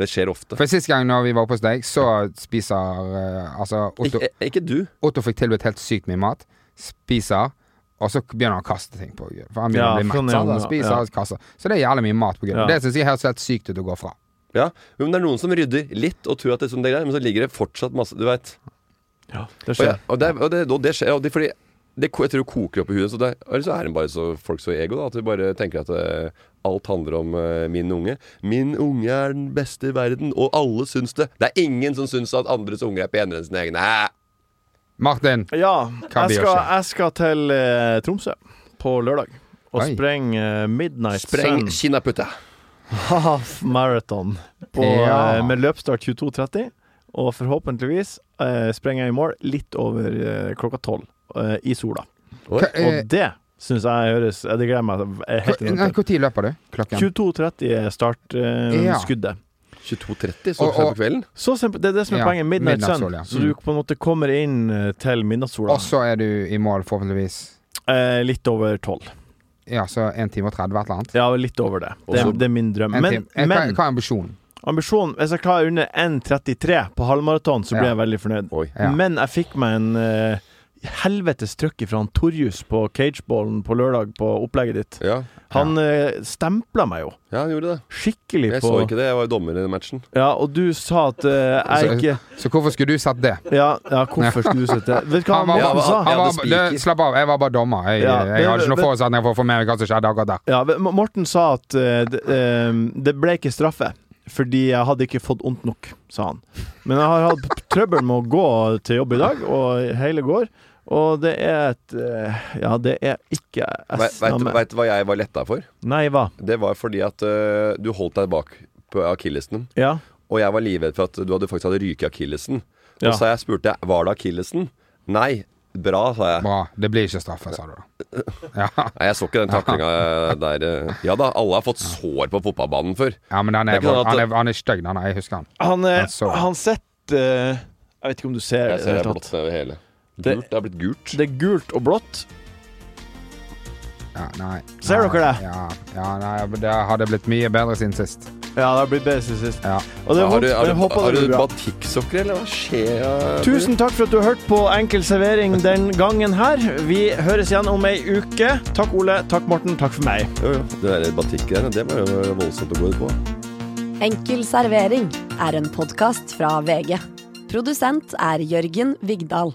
S3: Det skjer ofte.
S4: For Sist gang når vi var oppe hos deg, så spiser eh, Altså, Otto,
S3: Ikke, ikke du.
S4: Otto fikk tilbudt helt sykt mye mat. Spiser. Og så begynner han å kaste ting på gulvet. For han
S5: Ja,
S4: begynner å bli
S5: sånn er
S4: mett. sant?
S5: det,
S4: Han
S5: ja.
S4: spiser og kaster. Så det er jævlig mye mat på gulvet.
S5: Ja.
S4: Det syns jeg høres helt sykt ut å gå fra.
S3: Ja. Men det er noen som rydder litt og tror at det er sånn det er, men så ligger det fortsatt masse Du veit.
S5: Ja, det
S3: Og,
S5: skjer.
S3: jeg- og, det, og, det, og det skjer. Og det, fordi det, ko- jeg tror det koker opp i huet. Så det, eller så er det bare så, folk så ego, da. At de bare tenker at eh, alt handler om eh, min unge. Min unge er den beste i verden, og alle syns det. Det er ingen som syns at andres unger er penere enn sine egne. Hæ?
S4: Martin,
S5: Ja,
S4: Kan
S5: jeg
S4: vi
S5: skal,
S4: gjøre seg?
S5: jeg skal til eh, Tromsø på lørdag. Og
S4: Oi.
S5: sprenge eh, Midnight
S3: Spreng
S5: Sun
S3: kinnaputta.
S5: Half Marathon på,
S4: Ja.
S5: eh, med løpstart 22.30. Og forhåpentligvis eh, sprenger jeg i mål litt over eh, klokka tolv eh, i sola.
S3: Oi.
S4: hva- eh,
S5: Og det syns jeg høres Det gleder jeg meg eh, helt
S4: hva- nei,
S5: enormt til.
S4: hvor tid løper du? Klokken?
S5: 22.30 er
S4: Ja.
S5: startskuddet.
S3: 22.30, så
S4: Og-
S3: sent
S4: og-
S3: på kvelden.
S5: Så simpelt, det er det som er
S4: Ja,
S5: poenget. Midnight,
S4: midnattssol,
S5: Sun.
S4: ja. Mm.
S5: Så du på en måte kommer inn eh, til midnattssola
S4: Og så er du i mål, forhåpentligvis.
S5: eh, litt over tolv.
S4: Ja, så 1 time og 30, et eller annet.
S5: Ja, litt over det. Det,
S3: Også-
S5: det er min drøm.
S4: En
S5: Men,
S4: time. Eh, hva,
S5: men
S4: hva er ambisjonen?
S5: ambisjonen Hvis jeg klarer under 1,33 på halvmaraton, så blir
S4: Ja.
S5: jeg veldig fornøyd.
S3: Oi.
S4: Ja.
S5: Men jeg fikk meg en eh, helvetes trøkk fra han Torjus på cageballen på lørdag, på opplegget ditt.
S3: Ja,
S5: Han uh, stempla meg jo
S3: ja han gjorde det.
S5: skikkelig
S3: Jeg
S5: på
S3: så ikke det, jeg var jo dommer i den matchen.
S5: Ja, og du sa at eh, jeg
S4: Altså,
S5: ikke
S4: Så hvorfor skulle du sett det?
S5: ja, ja, hvorfor skulle du sitte Vet du hva han,
S4: var,
S5: han sa?
S4: han var,
S3: Jeg hadde spiker.
S4: det, slapp av, jeg var bare dommer. Jeg,
S5: Ja,
S4: jeg, hadde ikke
S5: men-
S4: noe forutsetning for å få med meg hva som skjedde akkurat der.
S5: Ja, men Morten sa at eh, det, eh, det ble ikke straffe, fordi jeg hadde ikke fått vondt nok, sa han. Men jeg har hatt trøbbel med å gå til jobb i dag, og hele går. Og det er et eh, Ja, det er ikke
S3: Veit
S5: S.
S3: du
S5: navnet.
S3: vet du hva jeg var letta for?
S5: Nei, hva?
S3: Det var fordi at eh, du holdt deg bak på akillesen.
S5: Ja.
S3: Og jeg var livredd for at du hadde faktisk hadde ryket akillesen.
S5: Ja.
S3: Og så jeg spurte jeg var det akillesen. Nei. Bra, sa jeg.
S4: Bra. Det blir ikke straffe, sa du da. Ja,
S3: Nei, Jeg så ikke den taklinga der. eh. Ja da, alle har fått sår på fotballbanen før.
S4: ja men den
S3: Det
S4: er,
S3: er ikke sånn at-
S4: han er, han er stygg, den. Jeg husker han.
S5: Han, eh,
S4: Jeg så.
S5: han sitter eh, Jeg vet ikke om du ser
S3: Jeg
S5: det i
S3: ser
S5: det
S3: det er
S5: hele
S3: blått
S5: tatt.
S3: over hele.
S5: Det-
S3: Gult, det har blitt gult.
S5: Det er gult og blått.
S4: Ja, nei.
S5: Ser
S4: Nei,
S5: dere det?
S4: Ja, ja nei, det hadde blitt mye bedre siden sist.
S5: Ja, det har blitt bedre siden sist.
S4: Ja.
S5: Og det er
S3: Har
S5: vondt,
S3: du, har
S5: men jeg
S3: du,
S5: håper
S3: har
S5: det
S3: du
S5: blir bra.
S3: batikksokker, eller hva skjer?
S5: Tusen takk for at du har hørt på Enkel servering den gangen her. Vi høres igjen om ei uke. Takk, Ole. Takk, Morten. Takk for meg.
S3: Jo, jo. Det der batikket der, det var jo voldsomt å gå ut på.
S1: Enkel servering er en podkast fra VG. Produsent er Jørgen Vigdal.